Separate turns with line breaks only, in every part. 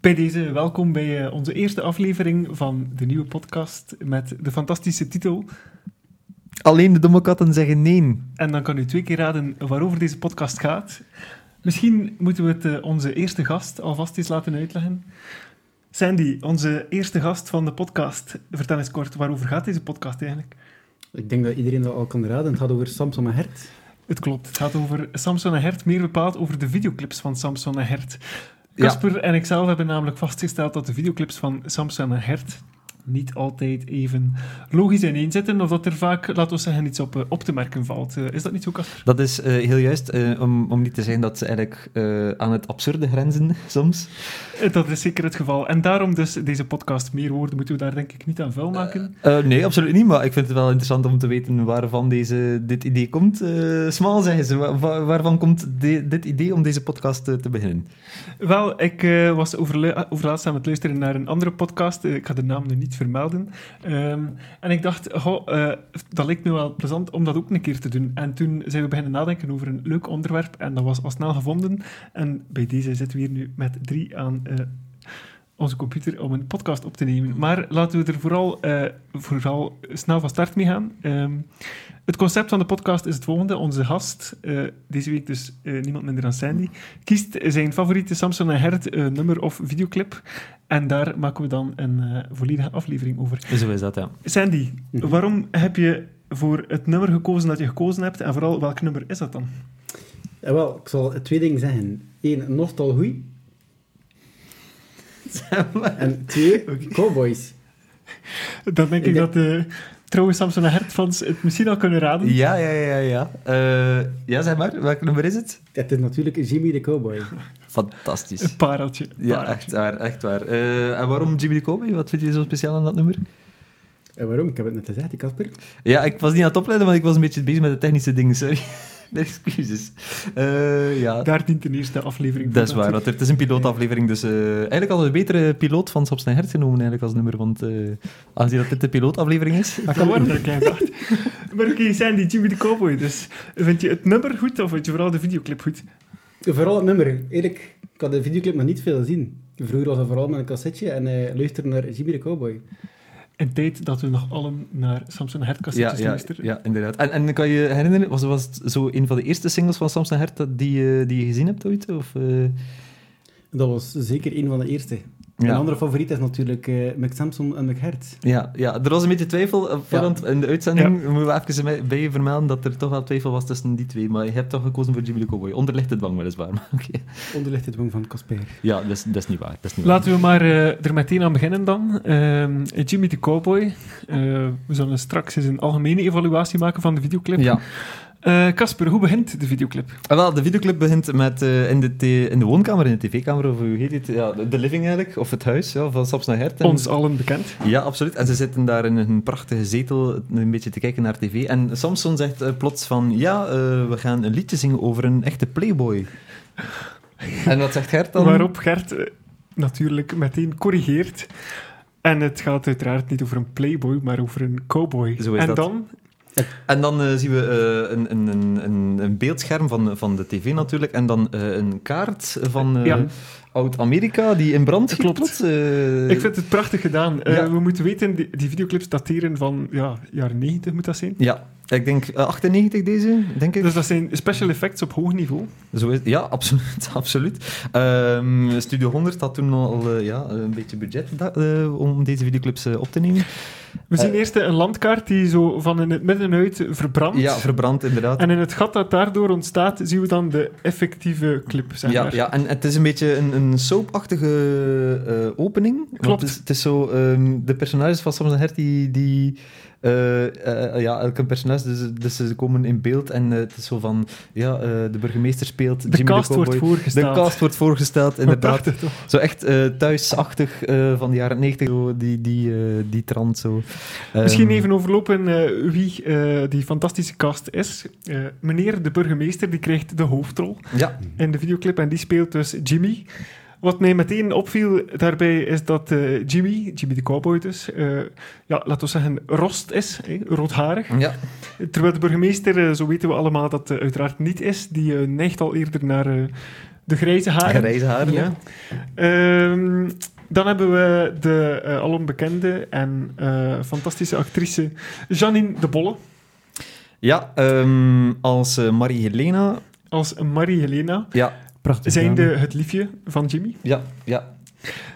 Bij deze welkom bij eh, onze eerste aflevering van de nieuwe podcast met de fantastische titel.
Alleen de domme katten zeggen nee.
En dan kan u twee keer raden waarover deze podcast gaat. Misschien moeten we het eh, onze eerste gast alvast eens laten uitleggen. Sandy, onze eerste gast van de podcast. Vertel eens kort, waarover gaat deze podcast eigenlijk?
Ik denk dat iedereen dat al kan raden. Het gaat over Samson en Hert.
Het klopt, het gaat over Samson en Hert, meer bepaald over de videoclips van Samson en Hert.
Ja.
Casper en ikzelf hebben namelijk vastgesteld dat de videoclips van Samson en Hert niet altijd even logisch ineenzitten, of dat er vaak, laten we zeggen, iets op, eh, op te merken valt. Eh, is dat niet zo, Casper?
Dat is eh, heel juist, eh, om, om niet te zeggen dat ze eigenlijk eh, aan het absurde grenzen soms.
Eh, Dat is zeker het geval. En daarom dus deze podcast. Meer woorden moeten we daar denk ik niet aan vuil maken.
Eh, nee, absoluut niet, maar ik vind het wel interessant om te weten waarvan deze, dit idee komt. Eh smal zeggen ze, wa- wa- waarvan komt de- dit idee om deze podcast eh, te beginnen?
Wel, ik eh, was overla- overlaatst aan het luisteren naar een andere podcast. Eh, ik ga de naam nu niet vermelden. Ehm, en ik dacht, goh, eh, dat leek me wel plezant om dat ook een keer te doen. En toen zijn we beginnen nadenken over een leuk onderwerp. En dat was al snel gevonden. En bij deze zitten we hier nu met drie aan eh, onze computer om een podcast op te nemen. Maar laten we er vooral, eh, vooral snel van start mee gaan. Ehm, het concept van de podcast is het volgende. Onze gast, eh, deze week dus eh, niemand minder dan Sandy, kiest zijn favoriete Samson en Hert eh, nummer of videoclip. En daar maken we dan een eh, volledige aflevering over.
Zo is dat, ja.
Sandy,
Mhm.
waarom heb je voor het nummer gekozen dat je gekozen hebt? En vooral, welk nummer is dat dan?
En Eh, wel, ik zal twee dingen zeggen. Eén, nostalgie. En twee, cowboys.
Dan denk ik,
Ik
dat de trouwe Samson en Hert fans het misschien al kunnen raden.
Ja, ja, ja, ja. Eh, ja, zeg maar, welk nummer is het?
Het is natuurlijk Jimmy de cowboy.
Fantastisch.
Een pareltje. een
Ja,
pareltje.
echt waar, echt waar. Eh, en waarom Jimmy de Cowboy? Wat vind je zo speciaal aan dat nummer?
En waarom? Ik heb het net gezegd, die Kasper.
Ja, ik was niet aan het opleiden, want ik was een beetje bezig met de technische dingen, sorry. Mijn excuses. Eh, ja,
Daar dient de eerste aflevering voor
dat is waar.
natuurlijk.
want het is een pilootaflevering, dus eh, eigenlijk hadden we een betere piloot van Saps en Hert genomen eigenlijk als nummer, want eh, aangezien dat dit de pilootaflevering is...
Dat kan worden, dat klein dacht. Maar oké, Sandy, Jimmy de Cowboy. Dus vind je het nummer goed of vind je vooral de videoclip goed?
Vooral het nummer. Eerlijk, ik had de videoclip nog niet veel gezien. Vroeger was dat vooral met een cassetje en eh luister naar Jimmy de cowboy.
Een tijd dat we nog allen naar Samson
Ja,
Hertkassetjes
ja,
luisteren.
ja, inderdaad. En, en kan je herinneren, was, was het zo een van de eerste singles van Saps en Hert dat- die, eh, die je gezien hebt ooit? Of, eh?
Dat was zeker een van de eerste.
Ja.
Mijn andere favoriet is natuurlijk eh Mac Samson en Mac Hert.
Ja, ja, er was een beetje twijfel. eh, Voorhand in de uitzending moeten we even bij- bij je vermelden dat er toch wel twijfel was tussen die twee. Maar je hebt toch gekozen voor Jimmy de Cowboy. Onderlichte dwang weliswaar. Maar oké.
Onderlicht het wong van Kasper.
Ja, dat is, dat is niet waar. Dat is niet waar.
Laten we maar eh, er meteen aan beginnen dan. Ehm, Jimmy de Cowboy. Eh, we zullen straks eens een algemene evaluatie maken van de videoclip.
Ja.
Eh, Casper, hoe begint de videoclip?
Ah, wel, de videoclip begint met eh, in, de t- in de woonkamer, in de tv-kamer, of hoe heet het? Ja, de de living eigenlijk, of het huis ja, van Saps naar Hert. En-
Ons allen bekend.
Ja, absoluut. En ze zitten daar in een prachtige zetel een beetje te kijken naar tv. En Samson zegt eh, plots van, ja, eh, we gaan een liedje zingen over een echte playboy. en wat zegt Gert dan?
Waarop Gert eh, natuurlijk meteen corrigeert. En het gaat uiteraard niet over een playboy, maar over een cowboy.
Zo is
en
dat.
dan,
En dan eh, zien we eh, een, een, een- een, een beeldscherm van, van de tv natuurlijk. En dan eh, een kaart van eh,
Ja.
Oud-Amerika die in brand schiet.
Klopt.
plots. Eh,
ik vind het prachtig gedaan. Eh,
Ja.
We moeten weten, die, die videoclips dateren van ja, jaren 90 moet dat zijn.
Ja, ik denk eh, 98 deze, denk ik.
Dus dat zijn special effects op hoog niveau.
Zo is, ja, absoluut. absoluut. Ehm, Studio 100 had toen al eh, ja, een beetje budget da- eh, om deze videoclips eh, op te nemen.
We zien
Eh.
eerst een landkaart die zo van in het midden uit verbrandt.
Ja, verbrand inderdaad.
En in het gat dat daardoor ontstaat, zien we dan de effectieve clip, zeg
ja,
maar.
ja, en het is een beetje een, een soapachtige eh, opening. Want
Klopt.
Het is, het is zo, ehm, de personages van Samson Hert, die... die eh, eh, ja, elk een personage, dus, dus ze komen in beeld en eh, het is zo van... Ja, eh, de burgemeester speelt
De
Jimmy
cast
de
wordt
Cowboy.
voorgesteld.
De cast wordt voorgesteld, inderdaad.
Prachtig, toch?
Zo echt eh, thuisachtig eh, van de jaren 90, zo, die, die, eh, die trant zo. Ehm,
Misschien even overlopen eh, wie eh, die fantastische cast is. Eh, meneer de burgemeester, die krijgt de hoofdrol
Ja,
in de videoclip en die speelt dus Jimmy. Wat mij meteen opviel daarbij is dat eh, Jimmy, Jimmy de cowboy dus, eh, ja, laten we zeggen, rost is, hè, roodharig.
Ja,
Terwijl de burgemeester, eh, zo weten we allemaal dat eh, uiteraard niet is, die eh, neigt al eerder naar eh, de grijze haren.
grijze haren, Ah, ja.
Ehm, dan hebben we de eh alombekende en eh, fantastische actrice Janine de Bolle
Ja, ehm, als eh, Marie-Helena.
als Marie Helena,
Ja,
Prachtig.
zijnde
gedaan.
het liefje van Jimmy.
ja, ja.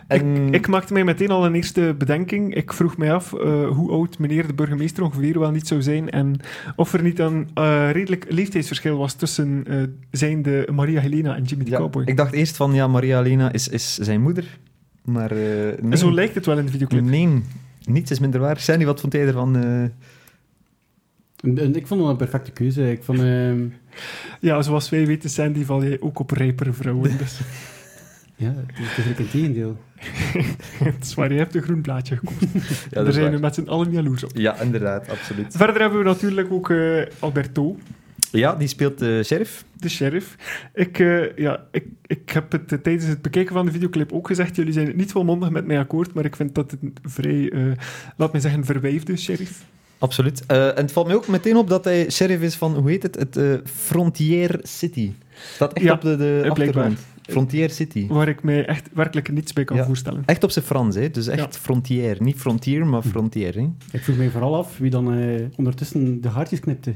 En,
Ik maakte mij meteen al een eerste bedenking. Ik vroeg mij af eh, hoe oud meneer de burgemeester ongeveer wel niet zou zijn en of er niet een eh, redelijk leeftijdsverschil was tussen eh zijnde Maria Helena en Jimmy de
ja,
Cowboy.
ik dacht eerst van, ja, Marie-Helena is, is zijn moeder. Maar eh, nee.
En zo lijkt het wel in de videoclip.
Nee, niets is minder waar. Sandy, wat vond jij ervan? eh?
En- en Ik vond het een perfecte keuze. Ik vond, ehm,
Ja, zoals wij weten, Sandy, val jij ook op rijpere vrouwen. Dus
ja, het is eigenlijk een tegendeel.
het is waar, je hebt een groen blaadje gekocht.
Ja, dat
Daar
is
zijn
waar.
we met z'n allen jaloers op.
Ja, inderdaad, absoluut.
Verder hebben we natuurlijk ook eh, Alberto,
Ja, die speelt de sheriff.
de sheriff. Ik, eh, ja, ik, ik heb het eh, tijdens het bekijken van de videoclip ook gezegd. Jullie zijn het niet volmondig met mij akkoord, maar ik vind dat het een vrij, eh, laat mij zeggen, verwijfde sheriff.
Absoluut. Eh, en het valt mij ook meteen op dat hij sheriff is van, hoe heet het? Het eh, Frontier City. Staat echt
Ja,
op de, de
eh, blijkbaar.
achtergrond. Frontier City.
Waar ik mij echt werkelijk niets bij kan
Ja.
voorstellen.
Echt op zijn Frans, hè? Dus echt Frontier. Niet Frontier, maar Frontier. Hè?
Ik vroeg mij vooral af wie dan eh, ondertussen de haartjes knipte.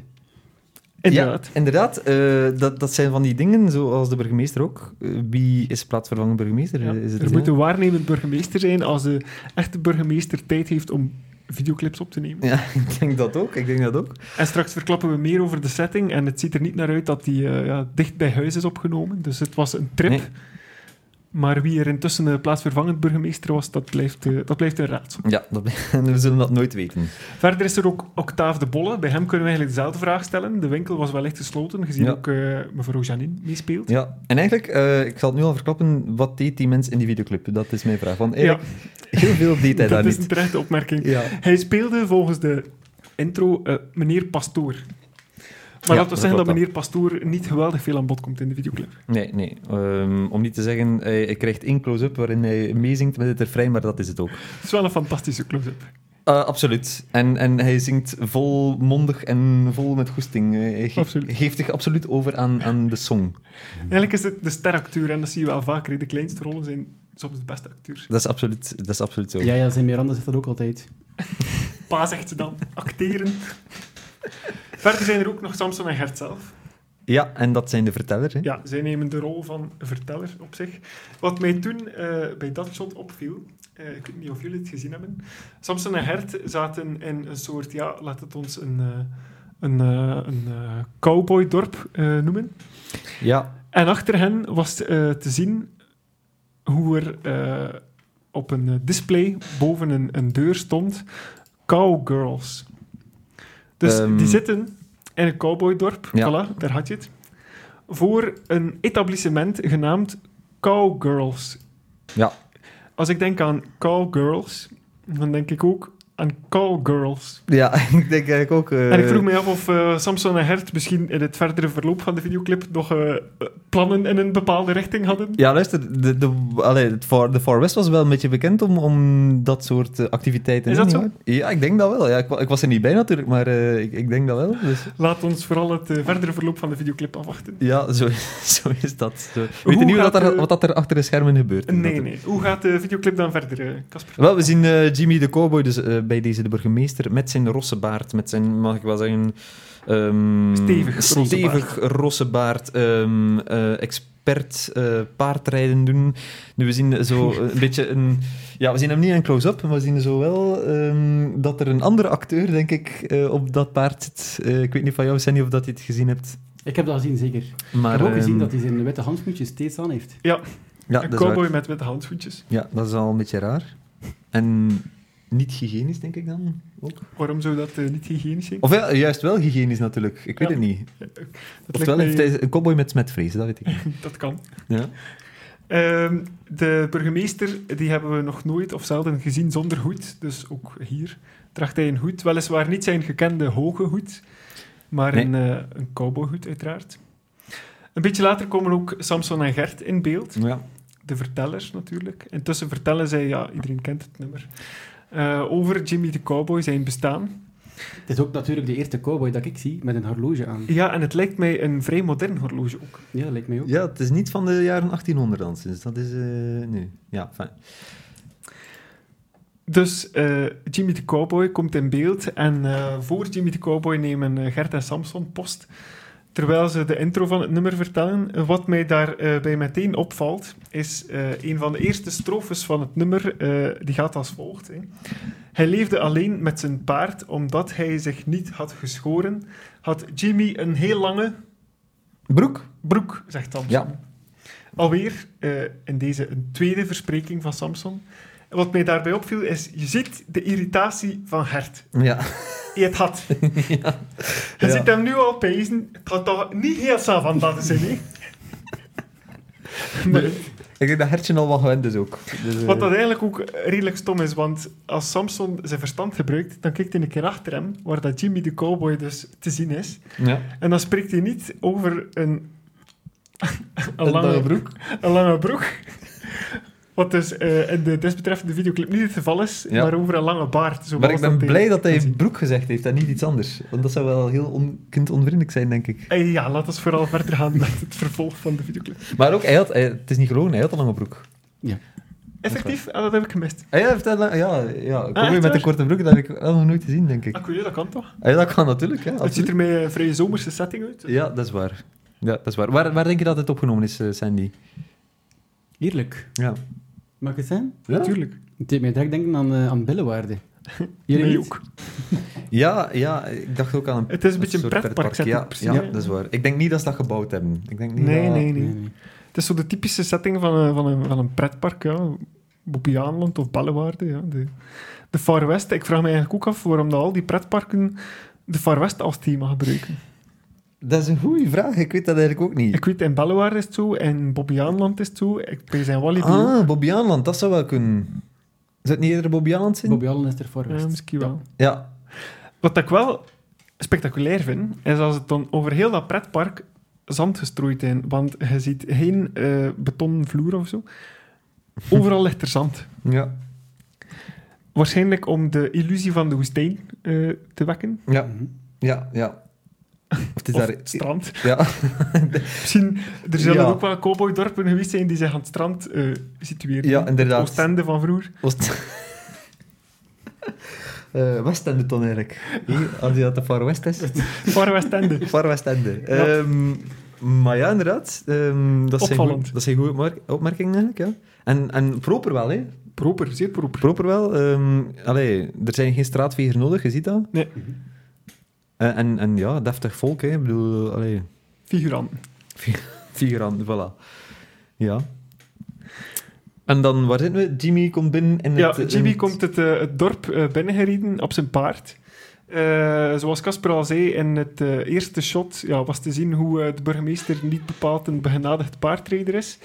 Inderdaad.
Ja, inderdaad. eh, dat, dat zijn van die dingen, zoals de burgemeester ook. Eh, wie is plaatsvervangend burgemeester?
Ja.
Eh, Is het
er
hè?
moet een waarnemend burgemeester zijn als de echte burgemeester tijd heeft om videoclips op te nemen.
Ja, ik denk dat ook. Ik denk dat ook.
En straks verklappen we meer over de setting. En het ziet er niet naar uit dat die eh, ja, dicht bij huis is opgenomen. Dus het was een trip.
Nee.
Maar wie er intussen eh, plaatsvervangend burgemeester was, dat blijft, eh, dat blijft een raadsel.
Ja, dat, we zullen dat nooit weten.
Verder is er ook Octave de Bolle. Bij hem kunnen we eigenlijk dezelfde vraag stellen. De winkel was wellicht gesloten, gezien
Ja.
ook eh, mevrouw Janine meespeelt.
Ja, en eigenlijk, eh, ik zal het nu al verklappen, wat deed die mens in die videoclip? Dat is mijn vraag. Want
Ja,
eigenlijk, heel veel deed hij
dat
daar
is een
niet.
terechte opmerking.
Ja.
Hij speelde volgens de intro eh, meneer Pastoor. Maar
Ja,
laten
dat
we zeggen dat
klopt
meneer Pastoor niet geweldig veel aan bod komt in de videoclip.
Nee, nee. Ehm, om niet te zeggen, hij, hij krijgt één close-up waarin hij meezingt met het refrein, maar dat is het ook.
Het is wel een fantastische close-up.
Eh, absoluut. En, en hij zingt volmondig en vol met goesting. Eh, Hij geeft,
Absoluut.
geeft zich absoluut over aan, aan de song.
Eigenlijk is het de steracteur, en dat zie je wel vaker. hè. De kleinste rollen zijn soms de beste acteurs.
Dat is absoluut, dat is absoluut zo.
Ja, ja, zijn Miranda zegt dat ook altijd.
Pa zegt ze dan, acteren. Verder zijn er ook nog Samson en Gert zelf.
Ja, en dat zijn de vertellers. Hè?
Ja, zij nemen de rol van verteller op zich. Wat mij toen eh, bij dat shot opviel, eh, ik weet niet of jullie het gezien hebben, Samson en Gert zaten in een soort, ja, laat het ons een, eh, een, eh, een eh, cowboydorp eh, noemen.
Ja,
En achter hen was eh, te zien hoe er eh, op een eh, display boven een, een deur stond cowgirls. Dus
Ehm.
die zitten in een cowboydorp,
Ja.
voilà, daar had je het, voor een etablissement genaamd Cowgirls.
Ja.
Als ik denk aan cowgirls, dan denk ik ook aan cowgirls.
ja ik denk eigenlijk ook... eh,
En ik vroeg mij af of eh, Samson en Hert misschien in het verdere verloop van de videoclip nog eh, eh, plannen in een bepaalde richting hadden.
Ja, luister, de, de, allee, het Far, de Far West was wel een beetje bekend om, om dat soort eh, activiteiten.
Is
hè,
dat zo?
nietwaar? Ja, ik denk dat wel. Ja, ik, wa- ik was er niet bij natuurlijk, maar eh, ik, ik denk dat wel. Dus,
Laat ons vooral het eh, verdere verloop van de videoclip afwachten.
ja, zo, zo is dat. Zo. Weet je niet
gaat
wat, daar,
de-
wat dat er achter de schermen gebeurt?
Nee,
Dat-
nee. Hoe gaat de videoclip dan verder, eh, Casper?
Wel, we zien eh, Jimmy de Cowboy, dus eh, bij deze de burgemeester, met zijn rosse baard, met zijn, mag ik wel zeggen... ehm,
Stevig rosse
stevig rosse baard. ehm, eh, expert eh, paardrijden doen. Nu, we zien zo een beetje een... Ja, we zien hem niet in close-up, maar we zien zo wel ehm, dat er een andere acteur, denk ik, eh, op dat paard zit. Eh, ik weet niet van jou, Sandy, of dat je het gezien hebt.
Ik heb dat gezien, zeker.
Maar,
ik heb ook
ehm,
gezien dat hij zijn witte handschoentjes steeds aan heeft.
Ja,
een
dat is waar.
cowboy met witte handschoentjes.
ja, dat is al een beetje raar. En niet hygiënisch, denk ik dan, ook.
Waarom zou dat eh, niet hygiënisch zijn?
Of ja, juist wel hygiënisch natuurlijk. Ik weet
Ja.
het niet.
Dat,
Oftewel
lijkt
heeft
mij-
hij een cowboy met smetvrees, dat weet ik niet.
dat kan.
Ja.
Ehm, de burgemeester, die hebben we nog nooit of zelden gezien zonder hoed. Dus ook hier draagt hij een hoed. Weliswaar niet zijn gekende hoge hoed, maar
Nee.
een, eh een cowboyhoed uiteraard. Een beetje later komen ook Samson en Gert in beeld.
Ja.
de vertellers natuurlijk. Intussen vertellen zij, ja, iedereen kent het nummer, eh, over Jimmy de Cowboy, zijn bestaan.
Het is ook natuurlijk de eerste cowboy dat ik zie met een horloge aan.
Ja, en het lijkt mij een vrij modern horloge ook.
Ja, lijkt mij ook.
Ja, het is niet van de jaren 1800 dan, sinds dat is eh, nu. Ja, fijn.
Dus eh, Jimmy de Cowboy komt in beeld en eh, voor Jimmy de Cowboy nemen eh, Gert en Samson post terwijl ze de intro van het nummer vertellen. Eh, Wat mij daarbij bij meteen opvalt, is eh, een van de eerste strofes van het nummer, eh, die gaat als volgt. Hè. Hij leefde alleen met zijn paard omdat hij zich niet had geschoren, had Jimmy een heel lange
Broek?
broek, zegt Samson.
Ja.
Alweer eh, in deze een tweede verspreking van Samson. En Wat mij daarbij opviel is, je ziet de irritatie van Gert.
Ja.
Je het had.
ja.
Je
Ja.
ziet hem nu al pezen. Het had toch niet heel snel van dat zijn, hè? Maar
Ik denk dat Hertje al wel gewend is ook. Dus, eh,
wat dat eigenlijk ook redelijk stom is, want als Samson zijn verstand gebruikt, dan kijkt hij een keer achter hem, waar dat Jimmy de cowboy dus te zien is.
ja.
En dan spreekt hij niet over een, een,
Een lange
lange,
broek.
een lange broek. Wat dus eh, in de desbetreffende videoclip niet het geval is,
Ja.
maar over een lange baard. Zo
Maar ik
was
ben
hij-
blij dat hij
zien.
broek gezegd heeft en niet iets anders. Want dat zou wel heel on kind onvriendelijk zijn, denk ik.
Eh, ja, laat ons vooral verder gaan met het vervolg van de videoclip.
Maar ook, hij had, hij- het is niet gelogen, hij had een lange broek.
Effectief, ah, dat heb ik gemist.
Hij heeft een lang- ja, ja, kom
Ah, echt
je met
waar?
een korte broek, dat heb ik wel nog nooit gezien, denk ik.
Ah, cool, dat kan toch?
Ja, dat kan natuurlijk, ja.
Het ziet
absoluut.
er mij een vrij zomerse setting uit.
Ja, dat is waar. Ja, dat is waar. Waar, waar denk je dat het opgenomen is, eh, Sandy?
Heerlijk.
Ja.
Mag ik het zijn?
Natuurlijk.
Het deed mij direct denken aan, eh, aan Bellewaarde.
Mij
niet?
ook.
Ja, ja, ik dacht ook aan een
Het is een beetje een
soort
pretpark,
pretpark. Ja,
precies.
ja, dat is waar. Ik denk niet dat ze dat gebouwd hebben. Ik denk niet
Nee,
dat...
nee,
Nee,
nee.
nee.
Het is zo de typische setting van een, van een, van een pretpark, ja. Bobiaanland of Bellewaarde, ja. De, de Far West. Ik vraag me eigenlijk ook af waarom dat al die pretparken de Far West als thema gebruiken.
Dat is een goede vraag. Ik weet dat eigenlijk ook niet.
Ik weet, in Bellewaarde is het zo, in Bobbejaanland is het zo, ik, bij zijn Walibi ook.
Ah, Bobbiaanland, dat zou wel kunnen. Zou het niet eerder Bobbiaanland zijn?
Bobby Allen is er voor
Ja,
geweest.
misschien wel.
Ja.
Wat ik wel spectaculair vind, is als het dan over heel dat pretpark zand gestrooid is. Want je ziet geen eh betonnen vloer of zo. Overal ligt er zand.
Ja.
Waarschijnlijk om de illusie van de woestijn eh, te wekken.
Ja.
Mhm.
Ja. Ja. Of het is
of
daar...
het strand.
Ja.
Misschien, er zullen
Ja.
ook wel cowboydorpen geweest zijn die zich aan het strand eh situeren.
Ja, inderdaad.
Oostende van vroeger.
Was het... Eh, Westende dan eigenlijk. Hier, als je dat de Far West is.
Far Westende.
Far Westende.
Ja.
Ehm, maar ja, inderdaad. ehm, dat, zijn
Opvallend.
goed, dat zijn goede opmerk- opmerkingen eigenlijk. Ja. En, en proper wel, hè.
Proper, zeer proper.
Proper wel. ehm, allee, er zijn geen straatvegers nodig, je ziet dat.
Nee.
Eh, en, en ja, deftig volk, hè. Ik bedoel, allee,
Figuranten.
figuranten, voilà. Ja. En dan, waar zitten we? Jimmy komt binnen in
Ja,
het... in
Jimmy
het-
komt het, eh, het dorp eh, binnengereden op zijn paard. Eh, zoals Casper al zei, in het eh, eerste shot ja, was te zien hoe eh, de burgemeester niet bepaald een begenadigd paardrijder is.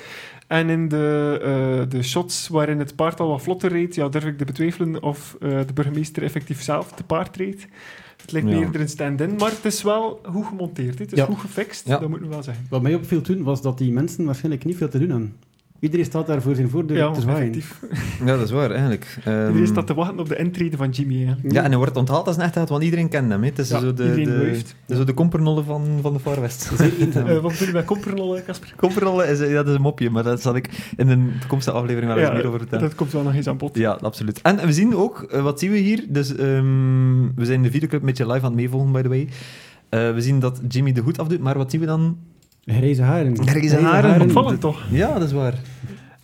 En in de, eh, de shots waarin het paard al wat vlotter reed, ja, durf ik te betwijfelen of eh, de burgemeester effectief zelf te paard reed. Het lijkt me
Ja.
eerder een stand-in, maar het is wel goed gemonteerd. hè. Het is
Ja.
goed gefixt,
Ja.
dat moeten we wel zeggen.
Wat mij opviel toen was dat die mensen waarschijnlijk niet veel te doen hebben. Iedereen staat daar voor zijn voordeur
Ja,
te zwaaien.
effectief.
Ja, dat is waar, eigenlijk. Ehm,
Iedereen staat te wachten op de intrede van Jimmy. eigenlijk.
Ja, en hij wordt onthaald als een echte held, want iedereen kent hem. Hè. Het is
Ja,
zo de,
iedereen
de,
wuift.
het is zo de kompernollen van, van de Far West.
Zeer eenzaam.
Eh, wat bedoel je met kompernollen, Casper?
Kompernollen is, dat is een mopje, maar daar zal ik in een toekomstige aflevering wel eens meer over vertellen.
Dat komt wel nog eens aan bod.
Ja, absoluut. En we zien ook, eh, wat zien we hier? Dus ehm, we zijn de videoclip een beetje live aan het meevolgen, by the way. Eh, we zien dat Jimmy de hoed afdoet, maar wat zien we dan?
Grijze haren.
Grijze haren.
Opvallend toch?
Ja, dat is waar.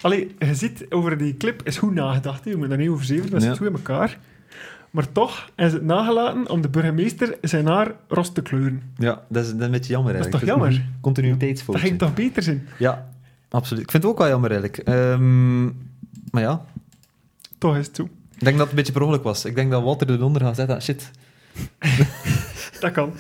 Allee, je ziet over die clip is goed nagedacht. hè. Je moet daar niet over zeven, dat
Ja.
zit goed in elkaar. Maar toch is het nagelaten om de burgemeester zijn haar ros te kleuren.
Ja, dat is, dat is een beetje jammer
Dat is
eigenlijk.
toch jammer?
een
Dat
Continuïteitsfoutje.
ging toch beter zijn?
Ja, absoluut. Ik vind het ook wel jammer eigenlijk. Ehm, maar ja,
Toch is het zo.
ik denk dat het een beetje per ongeluk was. Ik denk dat Walter de Donder gaat zeggen, ah, shit.
Dat kan.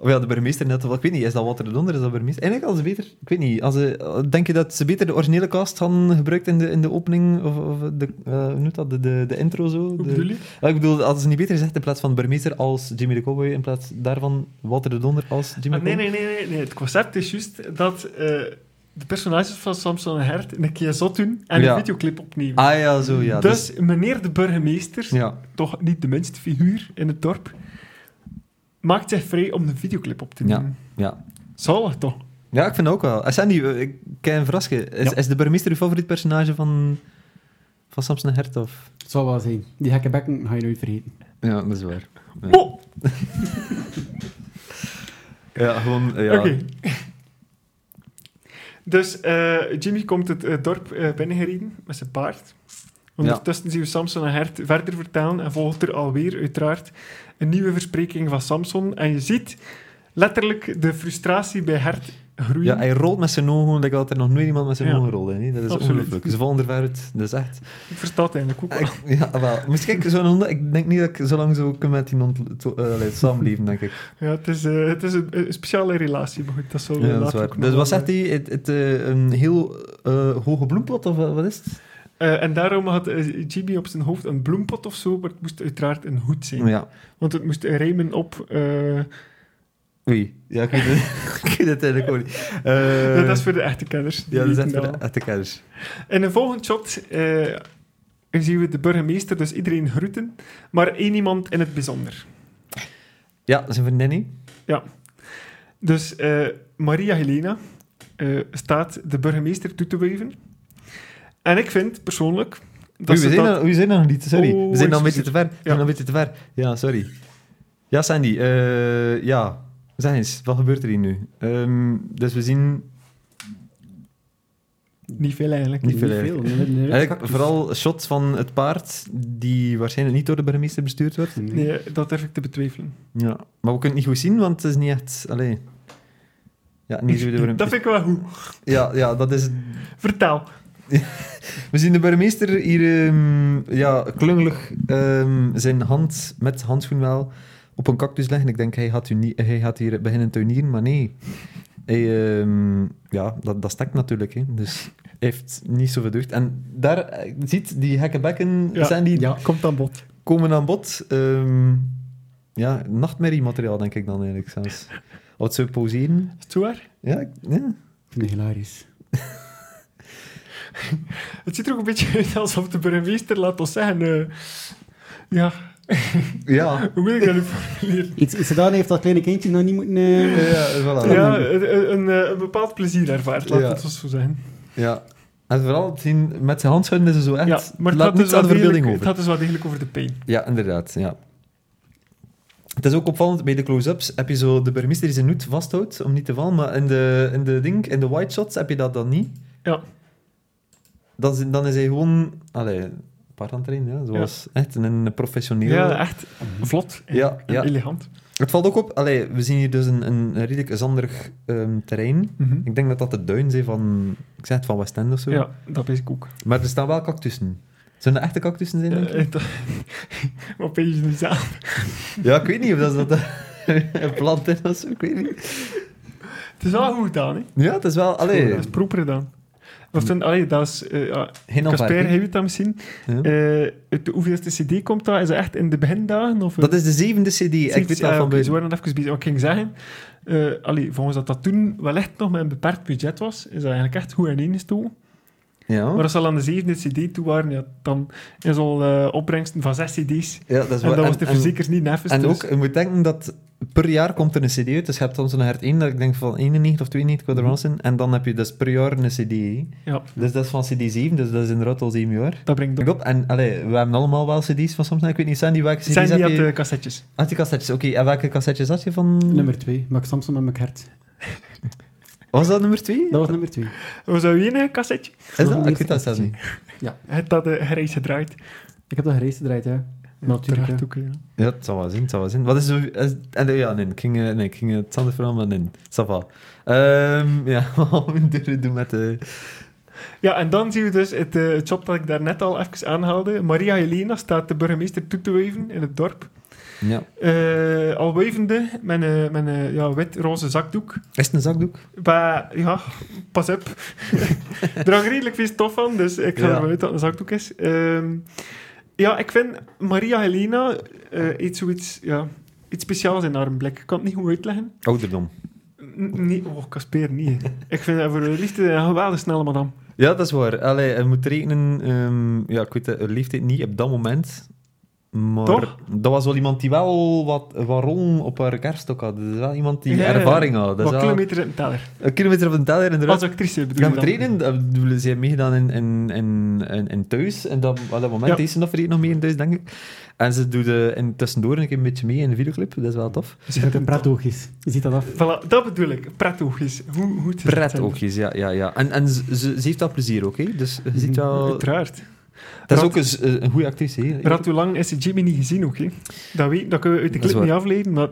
Of ja, de burgemeester net, wel. ik weet niet, is dat Walter de Donder, is dat burgemeester? Eigenlijk als ze beter, ik weet niet, als ze, eh, denk je dat ze beter de originele cast hadden gebruikt in de, in de opening, of, of de, eh, hoe noemt dat, de, de, de intro zo?
Hoe
De-
bedoel je?
Ja, ik bedoel, hadden ze niet beter gezegd in plaats van burgemeester als Jimmy de Cowboy, in plaats daarvan Walter de Donder als Jimmy
Ah,
de
nee,
Cowboy?
nee, nee, nee, nee. Het concept is juist dat eh, de personages van Samson en Hert een keer zot doen en
Ja.
een videoclip opnemen.
Ah ja, zo ja. dus,
dus, meneer de burgemeester,
ja.
toch niet de minste figuur in het dorp, maakt zich vrij om de videoclip op te
Ja.
nemen.
Ja.
Zalig toch?
ja, ik vind het ook wel. Ah, Sandy, eh, ik kan je verrassen. Is,
Ja.
is de burgemeester uw favoriet personage van, van Samson en Hert? Of?
Het zal wel zijn. Die gekke bekken ga je nooit vergeten.
Ja, dat is waar. Ja.
Oh,
Ja, gewoon... eh, Ja.
oké. Dus eh, Jimmy komt het eh, dorp eh, binnengereden met zijn paard. Ondertussen zien we Samson en Hert verder vertellen en volgt er alweer uiteraard een nieuwe verspreking van Samson. En je ziet letterlijk de frustratie bij Hert groeien.
Ja, hij rolt met zijn ogen, dat had er nog nooit iemand met zijn
Ja.
ogen rolde. Hè. Dat is
Absoluut.
ongelooflijk. Ze vallen er ver uit, dat is echt...
Ik versta het eigenlijk ook wel.
Ik, ja, wel. Misschien ik zo'n hond... Ik denk niet dat ik zo lang zo kan met iemand to, eh, allee, samenleven, denk ik.
Ja, het is, eh, het is een, een speciale relatie, maar goed, dat zullen we
Ja, dat is
later
waar.
ook nog
Dus
wel,
wat zegt
eh,
hij? Het, het, eh, een heel eh, hoge bloempot, of wat wat is het?
eh, en daarom had eh, Jimmy op zijn hoofd een bloempot of zo, maar het moest uiteraard een hoed zijn.
Ja.
Want het moest rijmen op... eh,
Oei. Ja, ik weet het, ik weet het eigenlijk ook niet. Eh,
dat is voor de echte kenners. die
ja, dat is echt
weten
voor de
dat
echte kennis.
wel. In een volgend shot eh, zien we de burgemeester, dus iedereen groeten, maar één iemand in het bijzonder.
Ja, dat is van Danny.
Dus eh, Maria Helena eh, staat de burgemeester toe te wuiven. En ik vind persoonlijk...
Oei,
ze
we, zijn al- we zijn nog niet, sorry.
Oh,
we zijn al een beetje
excuseer.
te ver. We zijn al een beetje te ver. Ja, sorry. Ja, Sandy. eh, ja, zeg eens, wat gebeurt er hier nu? Ehm, dus we zien
Niet veel eigenlijk.
Niet veel,
veel.
eigenlijk.
Oh, nee, nee, nee.
eigenlijk vooral shots van het paard, die waarschijnlijk niet door de burgemeester bestuurd wordt.
Nee.
Nee, dat durf ik te betwijfelen.
Ja, maar we kunnen het niet goed zien, want het is niet echt... Allee. Ja, niet zo door een...
Dat vind ik wel goed.
Ja, ja, dat is...
Vertel.
We zien de burgemeester hier ehm, ja, klungelig ehm, zijn hand met handschoen wel op een cactus leggen. Ik denk, hij gaat, uni- hij gaat hier beginnen tuinieren, maar nee. Hij, ehm, ja, dat, dat stekt natuurlijk, hè. dus hij heeft niet zoveel deugd. En daar, eh, ziet, die hekkenbekken
Ja.
zijn die,
Ja, komt aan bod.
komen aan bod. Ehm ja, nachtmerriemateriaal denk ik dan eigenlijk zelfs. Wat ze poseren.
Is het zo waar?
Ja, ik- ja.
Ik vind het hilarisch.
Het ziet er ook een beetje uit alsof de burgemeester, laat ons zeggen... eh, ja,
Ja,
hoe wil ik dat nu formuleren?
Iets gedaan heeft dat kleine kindje nog niet moeten... eh,
ja, voilà.
Ja, een, een, eh, een bepaald plezier ervaart, laat
Ja.
het ons zo zeggen.
Ja. En vooral het zien met zijn handschoenen is zo echt...
ja, maar het
laat
gaat,
niets
dus
aan
wel
de verbeelding
degelijk, het
over.
gaat dus wel degelijk over de pijn.
Ja, inderdaad. Ja. Het is ook opvallend, bij de close-ups heb je zo de burgemeester die zijn hoed vasthoudt om niet te vallen, maar in de, in de, ding, in de wide shots heb je dat dan niet.
Ja.
Dan, is- dan is hij gewoon... Allee, paard aan het trainen, ja, zoals echt een professioneel...
Ja, echt vlot en,
Ja,
en
ja.
elegant.
Het valt ook op, allee, we zien hier dus een, een redelijk zanderig ehm, terrein.
Mhm.
Ik denk dat dat de duin zijn van, ik zeg het, van West End of zo.
Ja, dat weet ik ook.
Maar er staan wel cactussen. Zullen dat echte cactussen zijn, denk je?
Eh, eh, dat- Wat ben je nu zelf?
Ja, ik weet niet of dat, is dat eh, een plant is of zo, ik weet niet.
Het is wel goed gedaan, hè?
Ja, het is wel... Allee,
Dat is proper gedaan. Of toen, allee, dat is... eh, ja,
geen
Casper,
afwerking.
heb je dat misschien?
Ja.
Eh, uit de hoeveelste cd komt dat? Is dat echt in de begindagen? Of, eh,
Dat is de zevende cd, ik weet dat van
van Ze
buiten.
waren nog even bezig. Wat ik ging zeggen, eh, allee, volgens dat dat toen wel echt nog met een beperkt budget was, is dat eigenlijk echt goed ineengestoken. Maar
Ja.
als ze al aan de zevende cd toe waren, ja, dan is al eh, opbrengsten van zes cd's.
ja, dat is
en
waar.
dat was de
en,
verzekers niet neffens.
en
dus-
ook, je moet denken dat per jaar komt er een cd uit, dus je hebt soms een hert 1, dat ik denk van 91 of 92, wat er
Mhm.
was in, en dan heb je dus per jaar een cd. hè.
Ja,
Dus dat is van cd 7, dus dat is inderdaad al 7 jaar.
dat brengt
Kijk
op.
op, en allee, we hebben allemaal wel cd's van soms, ik weet niet, Sandy, welke cd's
Zijn die
heb
had
je?
de cassettes.
Had je cassettes, oké, en welke cassettes had je van...
Nummer 2. Maak Samson met mijn hart.
Was dat nummer 2?
Dat was nummer 2.
Was dat weer een cassetje?
Is dat? Ik weet dat zelfs niet.
Het had eh gereis gedraaid.
Ik heb dat gereisd gedraaid, hè. Natuurlijk,
Uiteraard
hè.
ook, ja.
Ja, het zal wel zien, het zal wel zien. Wat is zo... is- en, eh, ja, nee, ik ging, eh, nee, ik ging het Sander verhaal, maar nee, ça va. Ehm, ja, wat we moeten doen met eh? de...
Ja, en dan zien we dus het, eh, het shot dat ik daarnet al even aanhaalde. Maria Helena staat de burgemeester toe te wuiven in het dorp.
Ja.
Eh, al wuivende, met een, met een ja, wit-roze zakdoek.
Is het een zakdoek?
Maar ja, pas op. er hangt redelijk veel stof van, dus ik ga
Ja.
ervan uit dat het een zakdoek is. Ehm, ja, ik vind Maria Helena eh, iets, zoiets, ja, iets speciaals in haar blik. Ik kan het niet goed uitleggen.
Ouderdom.
Nee, oh, Casper, niet. hè. Ik vind dat voor de liefde een geweldig snelle madame.
Ja, dat is waar. Allee, je moet rekenen... ehm, ja, ik weet het, er leeft dit niet op dat moment. Maar
Toch?
dat was wel iemand die wel wat waarom op haar kerststok had. Dat is wel iemand die
Ja, ja, ja.
ervaring had. Dat is
Wat
wel-
kilometer in de teller.
Een kilometer op de teller, inderdaad.
Als actrice bedoel
Gaan
je
we
dan?
trainen? Eh, ik bedoel, Ze hebben meegedaan in, in, in, in, in thuis. En dat, op dat moment
Ja.
is ze nog, verrekt nog mee in thuis, denk ik. En ze doet eh, in, tussendoor een keer een beetje mee in de videoclip. Dat is wel tof.
Ze dat Dus een prettoog is. Je ziet dat af.
Voilà, dat bedoel ik. Prettoogjes. Hoe, hoe het is.
Pret oogjes, ja, ja, ja. En, en ze, ze ze heeft dat plezier ook, hè? Dus je ziet wel...
Uiteraard.
Dat is
Rat-
ook eens, eh, een goede actrice, hè?
Rat, hoe lang is Jimmy niet gezien ook, hè? Dat, weet, dat kunnen we uit de
Dat is
clip niet
waar.
afleiden, maar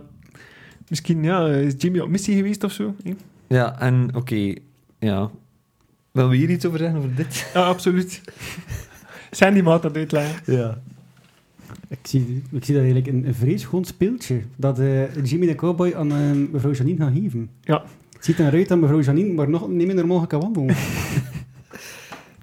misschien ja, is Jimmy op missie geweest of zo. hè?
Ja, en oké, ja. Wil we hier iets over zeggen, over dit?
Ja, absoluut. Sandy maat dat uitleggen.
Ja.
Ik zie, ik zie dat eigenlijk een, een vreesgoed speeltje. Dat eh, Jimmy de Cowboy aan eh, mevrouw Janine gaat geven.
Ja.
Het ziet eruit dat mevrouw Janine maar nog niet minder mogelijk kan wandelen.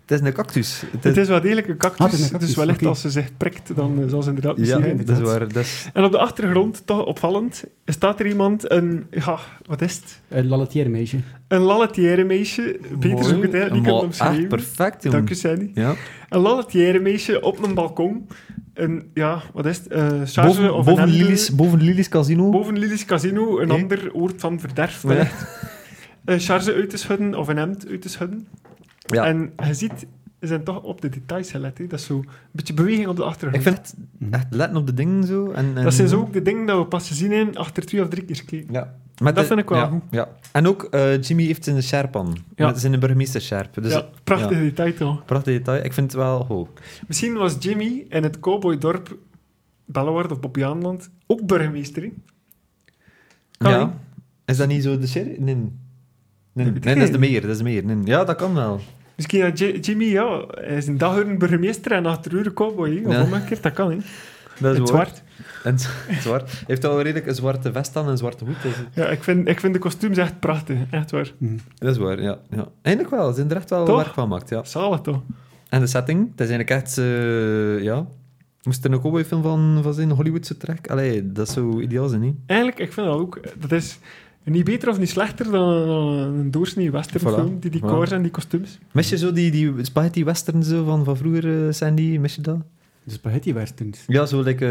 Het is een cactus. Het
Het
is...
is wel degelijk een
Ah,
cactus,
het is een cactus,
dus wellicht
oké.
als ze zich prikt, dan eh, zal ze inderdaad
Ja,
missie zijn.
dat is waar. Dat is...
En op de achtergrond, toch opvallend, staat er iemand, een, ja, wat is het?
Een lalatier meisje.
Een lalatière meisje. Beter zoek het uit, die kan
Maar
het
echt
omschrijven.
Ah, perfect, jongen.
Dank u, Sandy.
Ja.
Een lalatière meisje op een balkon. Een, ja, wat is het? Eh, charge
Boven,
of
boven,
een hendel.
Lilies, boven Lilies Casino.
Boven Lilies Casino, een
Oké.
ander oord van verderf.
Ja.
wellicht. Een charge uit te schudden of een hemd uit te schudden.
Ja.
En je ziet, ze zijn toch op de details gelet. hè. Dat is zo een beetje beweging op de achtergrond.
Ik vind het echt letten op de dingen zo. En, en...
dat zijn zo ook de dingen dat we pas gezien hebben achter twee of drie keer kijken.
Ja. Met
Dat
de-
vind ik wel
ja,
goed.
Ja. En ook eh, Jimmy heeft zijn sjerp aan.
Ja.
Met zijn burgemeester sjerp. Dus
ja, prachtig detail toch?
prachtig detail. Ik vind het wel goed.
Misschien was Jimmy in het cowboydorp Bellewaard of Bobbejaanland ook burgemeester. hè? Kan, hè?
ja. Is dat niet zo de sherry? Nee. Nee, nee,
weet ik
dat is de
niet.
meer. Dat is de meer. Nee. Ja, dat kan wel.
Misschien dat J- Jimmy, eh, ja, hij is een daguren burgemeester en achter uren cowboy. hè? Of
Ja.
omgekeerd, dat kan. Hè?
Dat is
Het
waar.
zwart.
En z- het zwart. Hij heeft al redelijk een zwarte vest aan en een zwarte hoed. Dat is,
Ja, ik vind, ik vind de kostuums echt prachtig. Echt waar.
dat is waar, ja. ja. Eindelijk wel. Ze zijn er echt wel
Toch?
werk van gemaakt, ja.
Zalig toch?
En de setting, dat is eigenlijk echt... eh, ja. Moest er een cowboyfilm van, van zijn, een Hollywoodse trek? Allee, dat zou ideaal zijn, niet?
Eigenlijk, ik vind dat ook... Dat is niet beter of niet slechter dan een, een doorsnee westernfilm.
Voilà.
Die die
Voilà.
koers en die kostuums.
Mis je zo die, die spaghetti western zo van, van vroeger, eh, Sandy? Mis je dat?
De spaghetti westerns.
Ja, zo like,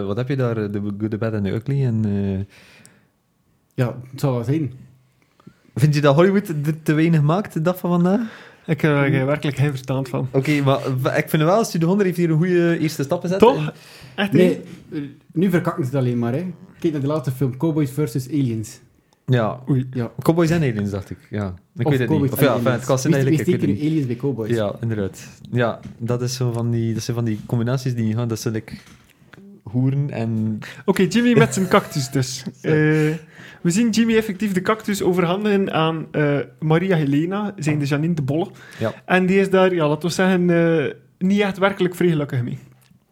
eh, wat heb je daar? The Good, The Bad and The Ugly. En, eh,
Ja, het zal wel zijn.
vind je dat Hollywood er te weinig maakt, de dag van vandaag?
Ik heb er werkelijk geen verstand van.
Oké, maar eh, ik vind wel, Studio 100 heeft hier een goede eerste stap gezet.
Toch? Echt
Nee, eh, nu verkakken ze het alleen maar. Hè. Kijk naar de laatste film, Cowboys vs. Aliens.
Ja,
Oei.
Ja.
Cowboys en aliens, dacht ik. Ja, ik weet het
Cowboys
niet. Of ja,
en
enfin, het kan zijn
Aliens.
eigenlijk. Ik
Wie-
weet het
wie steken
niet.
nu aliens bij Cowboys.
Ja, inderdaad. Ja, dat is zo van die, dat zijn van die combinaties die niet gaan. Dat zijn like hoeren en...
Oké, Jimmy met zijn cactus dus. Eh, we zien Jimmy effectief de cactus overhandigen aan eh, Maria Helena, zijn de Janine de Bolle.
Ja.
En die is daar, ja, laten we zeggen, eh, niet echt werkelijk vrij gelukkig mee.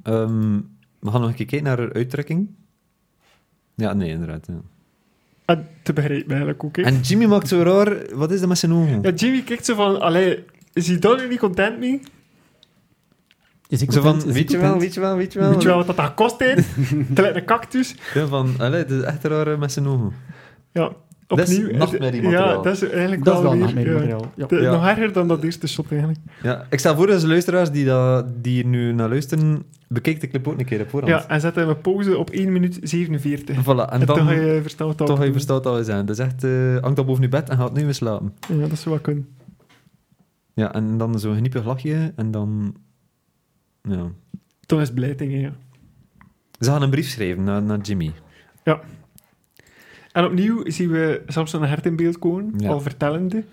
Ehm, we gaan nog een keer kijken naar haar uittrekking. Ja, nee, inderdaad. ja.
En Ah, te begrijpen eigenlijk ook. hè.
En Jimmy maakt zo raar... Wat is dat met zijn ogen?
Ja, Jimmy kijkt zo van, allee, is hij daar nu niet content mee?
Is ik
zo
content?
van,
Is ik
weet je wel,
content?
weet je wel, weet je wel.
Weet je wel wat dat gekost heeft? Het lijkt een cactus.
Ja, van, allee, het is echt raar eh, met zijn ogen.
Ja,
Dat is
opnieuw. eh,
nachtmerriemateriaal.
Ja, dat is eigenlijk
Dat is wel
wel
nog
weer...
meer
ja,
materiaal. Ja.
de-
Ja.
Nog erger dan dat eerste shot eigenlijk.
Ja, ik stel voor dat de luisteraars die, dat, die hier nu naar luisteren, bekijk de clip ook een keer op voorhand.
Ja, en zetten we pauze op 1 minuut 47.
Voilà, en
En
dan...
toch ga je verstaan wat dat
Toch, je
bedoelt.
verstaat dat we zijn. Dat is echt, eh hangt dat boven je bed en gaat nu weer slapen.
Ja, dat zou wel kunnen.
Ja, en dan zo'n geniepig lachje en dan... Ja.
Toen is Blijtingen, ja.
Ze gaan een brief schrijven naar, naar Jimmy.
En opnieuw zien we Samson een hert in beeld komen,
Ja.
al vertellende.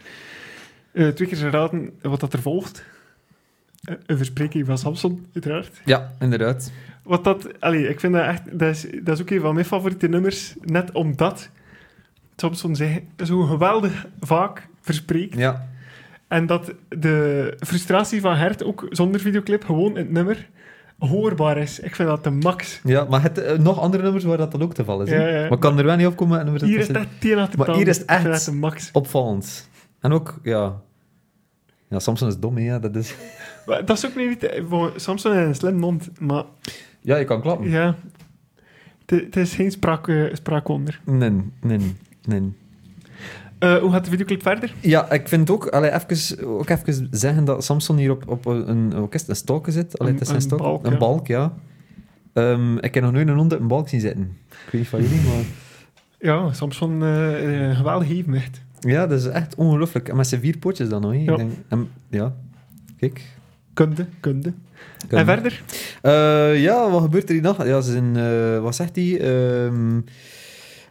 Eh, twee keer raden wat dat er volgt. Eh, een verspreking van Samson, uiteraard.
Ja, inderdaad.
Wat dat, allee, ik vind dat echt, dat is, dat is ook een van mijn favoriete nummers, net omdat Samson zich zo geweldig vaak verspreekt.
Ja.
En dat de frustratie van Hert ook zonder videoclip gewoon in het nummer hoorbaar is. Ik vind dat de max.
ja maar het, eh, nog andere nummers waar dat dan ook te vallen is.
Ja,
hè?
ja.
Maar ik kan er wel niet op komen. en nummers dat
Hier is
tussen-
dat tien aan de
Maar
tand.
hier is
Ik
het
vind
echt-
dat de max.
Opvallend. En ook, ja... Ja, Samson is dom, hè, ja. Dat is...
Maar dat is ook niet... eh, voor Samson heeft een slim mond, maar
Ja, je kan klappen.
ja... Het het is geen spraak, eh, spraakwonder.
Nee, nee, nee.
Eh, hoe gaat de videoclip verder?
Ja, ik vind ook, allee, even, ook even zeggen dat Samson hier op, op een, ook is het een stalker zit. Allee,
Een-
het is een,
een
stalk,
balk,
een
ja.
balk, ja. Ehm, ik heb nog nooit een hond op een balk zien zitten. Ik weet niet van jullie, maar...
Ja, Samson, eh, eh, geweldig even, echt.
Ja, dat is echt ongelooflijk. En met zijn vier pootjes dan, hoor.
Ja.
Ja. Denk, en, ja, kijk.
Kunde, kunde.
Kan-
En verder?
Eh, ja, wat gebeurt er die nacht? Ja, ze zijn, eh, wat zegt hij? Ehm,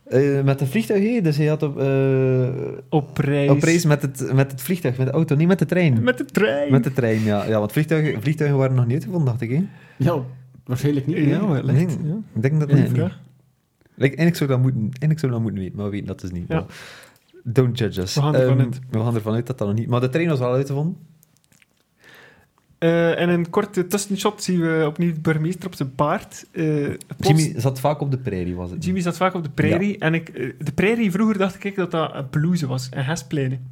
eh, met een vliegtuig, hé? dus hij had op, eh,
Op reis.
op reis met het, met het vliegtuig, met de auto, niet met de trein.
Met de trein.
Met de trein, ja. ja want vliegtuigen, vliegtuigen waren nog niet uitgevonden, dacht ik. Hè?
Ja, waarschijnlijk niet.
Ja,
nee.
wel, echt.
Nee.
Ja.
Ik denk dat
Goeie
nee, niet.
vraag.
Like, en ik zou dat moeten, en ik zou dat moeten weten, maar we weten dat dus niet.
Ja.
Maar Don't judge us.
We gaan ervan
Ehm,
uit.
We gaan ervan uit dat dat nog niet... Maar de trein was wel uitgevonden.
Eh, en in een korte tussenshot zien we opnieuw de burgemeester op zijn paard. Eh, plots-
Jimmy zat vaak op de prairie, was het.
Jimmy zat vaak op de prairie. En ik, eh, de prairie, vroeger dacht ik dat dat een pelouse was, een hespleinen.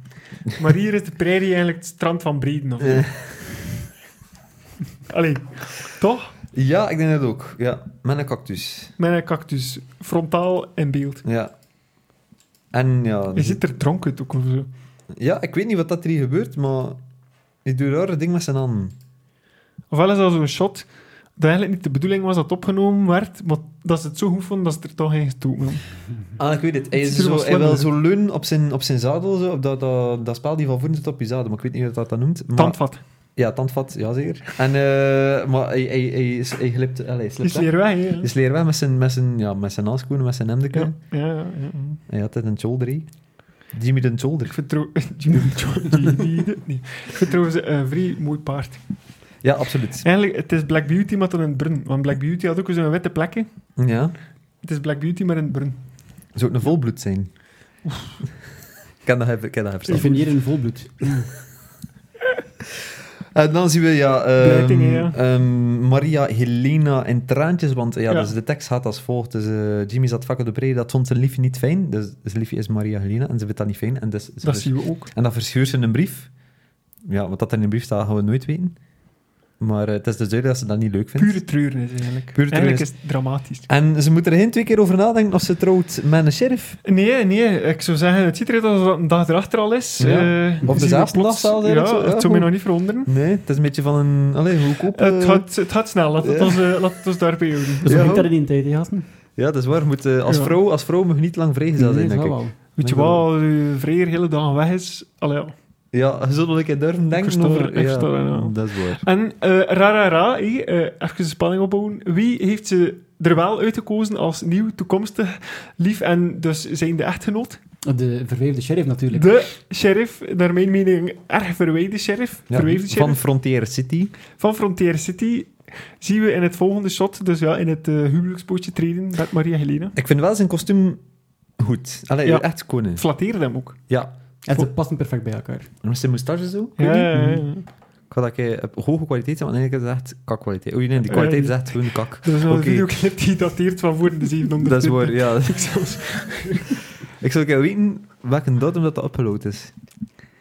Maar hier is de prairie eigenlijk het strand van Breden. Of...
Eh.
Allee, toch?
Ja, ik denk dat ook. Ja, met een cactus.
Met een cactus, frontaal in beeld.
Ja. En ja... dus-
Je zit er dronken uit ook of zo.
Ja, ik weet niet wat dat er hier gebeurt, maar... Hij doet rare dingen met zijn handen.
Ofwel is dat zo'n shot dat eigenlijk niet de bedoeling was dat het opgenomen werd, maar dat ze het zo goed vonden dat ze er toch in gestoken hebben.
Ah, ik weet het. Hij,
Het
is
ziet er wel
zo, hij wil
slim
zo leunen op zijn, op zijn zadel, zo, op dat, dat, dat spel die van voren zit op je zadel, maar ik weet niet hoe dat dat noemt. Maar,
Tandvat.
Ja, tandvat, ja zeker. En, eh, maar hij, hij, hij, is- hij glipt... allee, hij
Die
slipt
is hier weg, hè.
Dus leer wel met zijn, met zijn, ja, met zijn handschoenen, met zijn hemdeken.
Ja, ja, ja, ja.
Hij had het een shoulder, hè. Jimmy de
Ik
shoulder.
vind trouw- Jimmy- Jimmy- Jimmy- nee. Ik vind trouwens een vrij mooi paard.
Ja, absoluut.
Eigenlijk, het is Black Beauty, maar dan in het brun. Want Black Beauty had ook zo'n witte plekken.
Ja.
Het is Black Beauty, maar in het brun.
Zou het een volbloed zijn? Ik kan dat hebben, ik kan dat hebben.
Ik
Stef.
vind hier een volbloed.
En dan zien we, ja... ehm,
Blijtingen, ja.
ehm, Maria, Helena en Traantjes, want eh, ja,
Ja.
Dus de tekst gaat als volgt. Dus, eh, Jimmy zat vaak op de prairie, dat vond zijn liefje niet fijn. Dus, dus liefje is Maria Helena en ze vindt dat niet fijn. En, dus, ze
Dat
vers-
zien we ook.
en dan verscheurt ze een brief. Ja, wat dat er in een brief staat, gaan we nooit weten. Maar eh, het is dus duidelijk dat ze dat niet leuk vindt.
Pure treurnis, eigenlijk.
Pure
eigenlijk
treurnis.
is het dramatisch.
En ze moeten er geen twee keer over nadenken of ze trouwt met een sheriff.
Nee, nee. Ik zou zeggen, het ziet eruit alsof dat een dag erachter al is.
Ja.
Eh,
Of
zien we
dezelfde
plots-
dag
Ja,
zelfs eigenlijk zo, ja,
het zou mij
goed.
nog niet verwonderen.
Nee, het is een beetje van een... Allee, hoe koop...
het, gaat, het gaat snel. Laat het,
Eh, ja.
ons, eh, laat het ons daarbij houden.
Dus
Ja,
dat
ho.
ging dat in die tijd, hè, gasten?
Ja, dat is waar. Moet, eh, als,
Ja.
vrouw, als vrouw mag je niet lang vrijgezel zijn,
dat
denk ik.
wel.
Weet je
Nee, dat-
wat, de vreer hele dag weg is. Allee, ja.
Ja, je zult wel een keer durven denken
versta-
over...
ik
ja,
versta dat, ja.
Dat is waar.
En eh ra, ra, ra, hé, eh, even de spanning opbouwen. Wie heeft ze er wel uitgekozen als nieuw, toekomstig, lief en dus zijn de echtgenoot?
De verweefde sheriff natuurlijk.
De sheriff, naar mijn mening erg verwijde sheriff,
Ja,
verwijfde
van
sheriff
Frontier City.
van... Frontier City, zien we in het volgende shot, dus ja, in het eh, huwelijksbootje treden met Maria Helena.
Ik vind wel zijn kostuum goed. Allee,
Ja.
echt koning.
Flatteerde hem ook.
Ja.
En ze passen perfect bij elkaar.
En met zijn moustache zo.
Ja, ja, ja.
Mhm. Ik had dat ik eh, op hoge kwaliteit zijn, maar eigenlijk is het echt kakkwaliteit. Oei, nee, die kwaliteit is echt gewoon kak.
Dat is nog
Oké.
een videoclip die dateert van voor de 700.
Dat is waar, ja.
Ik zou-
Ik zou kunnen weten welke datum dat, dat upload is.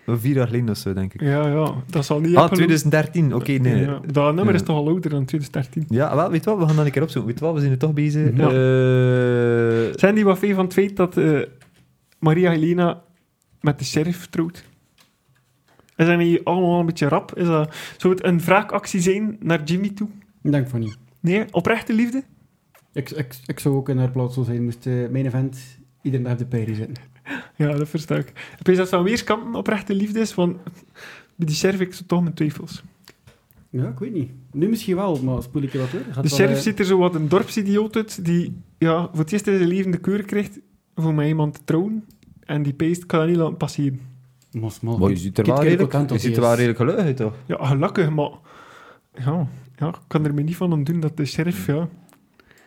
Vier jaar geleden of zo, denk ik.
Ja, ja, dat zal niet...
ah,
uploaden.
2013. Oké, nee.
Ja, dat nummer is
Ja.
toch al ouder dan 2013.
Ja, wel, weet je wat? We gaan dat een keer opzoeken. Weet je wat? We zijn er toch bezig.
Ja.
Eh,
Zijn die wat veel van het feit dat eh, Maria Helena met de sheriff trouwt? Is dat niet allemaal een beetje rap? Is dat, zou het een wraakactie zijn naar Jimmy toe?
Ik Denk van niet.
Nee, oprechte liefde?
Ik, ik, ik zou ook in haar plaats zo zijn, moest eh, mijn event iedere dag op de prairie zitten.
Ja, dat versta ik. Ik weet dat van weerskanten oprechte liefde is, want bij die sheriff ik zo toch mijn twijfels.
Ja, ik weet niet. Nu misschien wel, maar spoel ik je wat
De
door. eh,
sheriff ziet er zo wat een dorpsidioot uit, die ja, voor het eerst in zijn leven de keur krijgt voor met iemand te trouwen. En die peest kan dat niet laten passeren.
Mos, mos.
maar je ziet er wel redelijk, je ziet er wel redelijk gelukkig uit, toch?
Ja, gelukkig, maar... Ja, ja, ik kan er me niet van ontdoen dat de sheriff... Ja,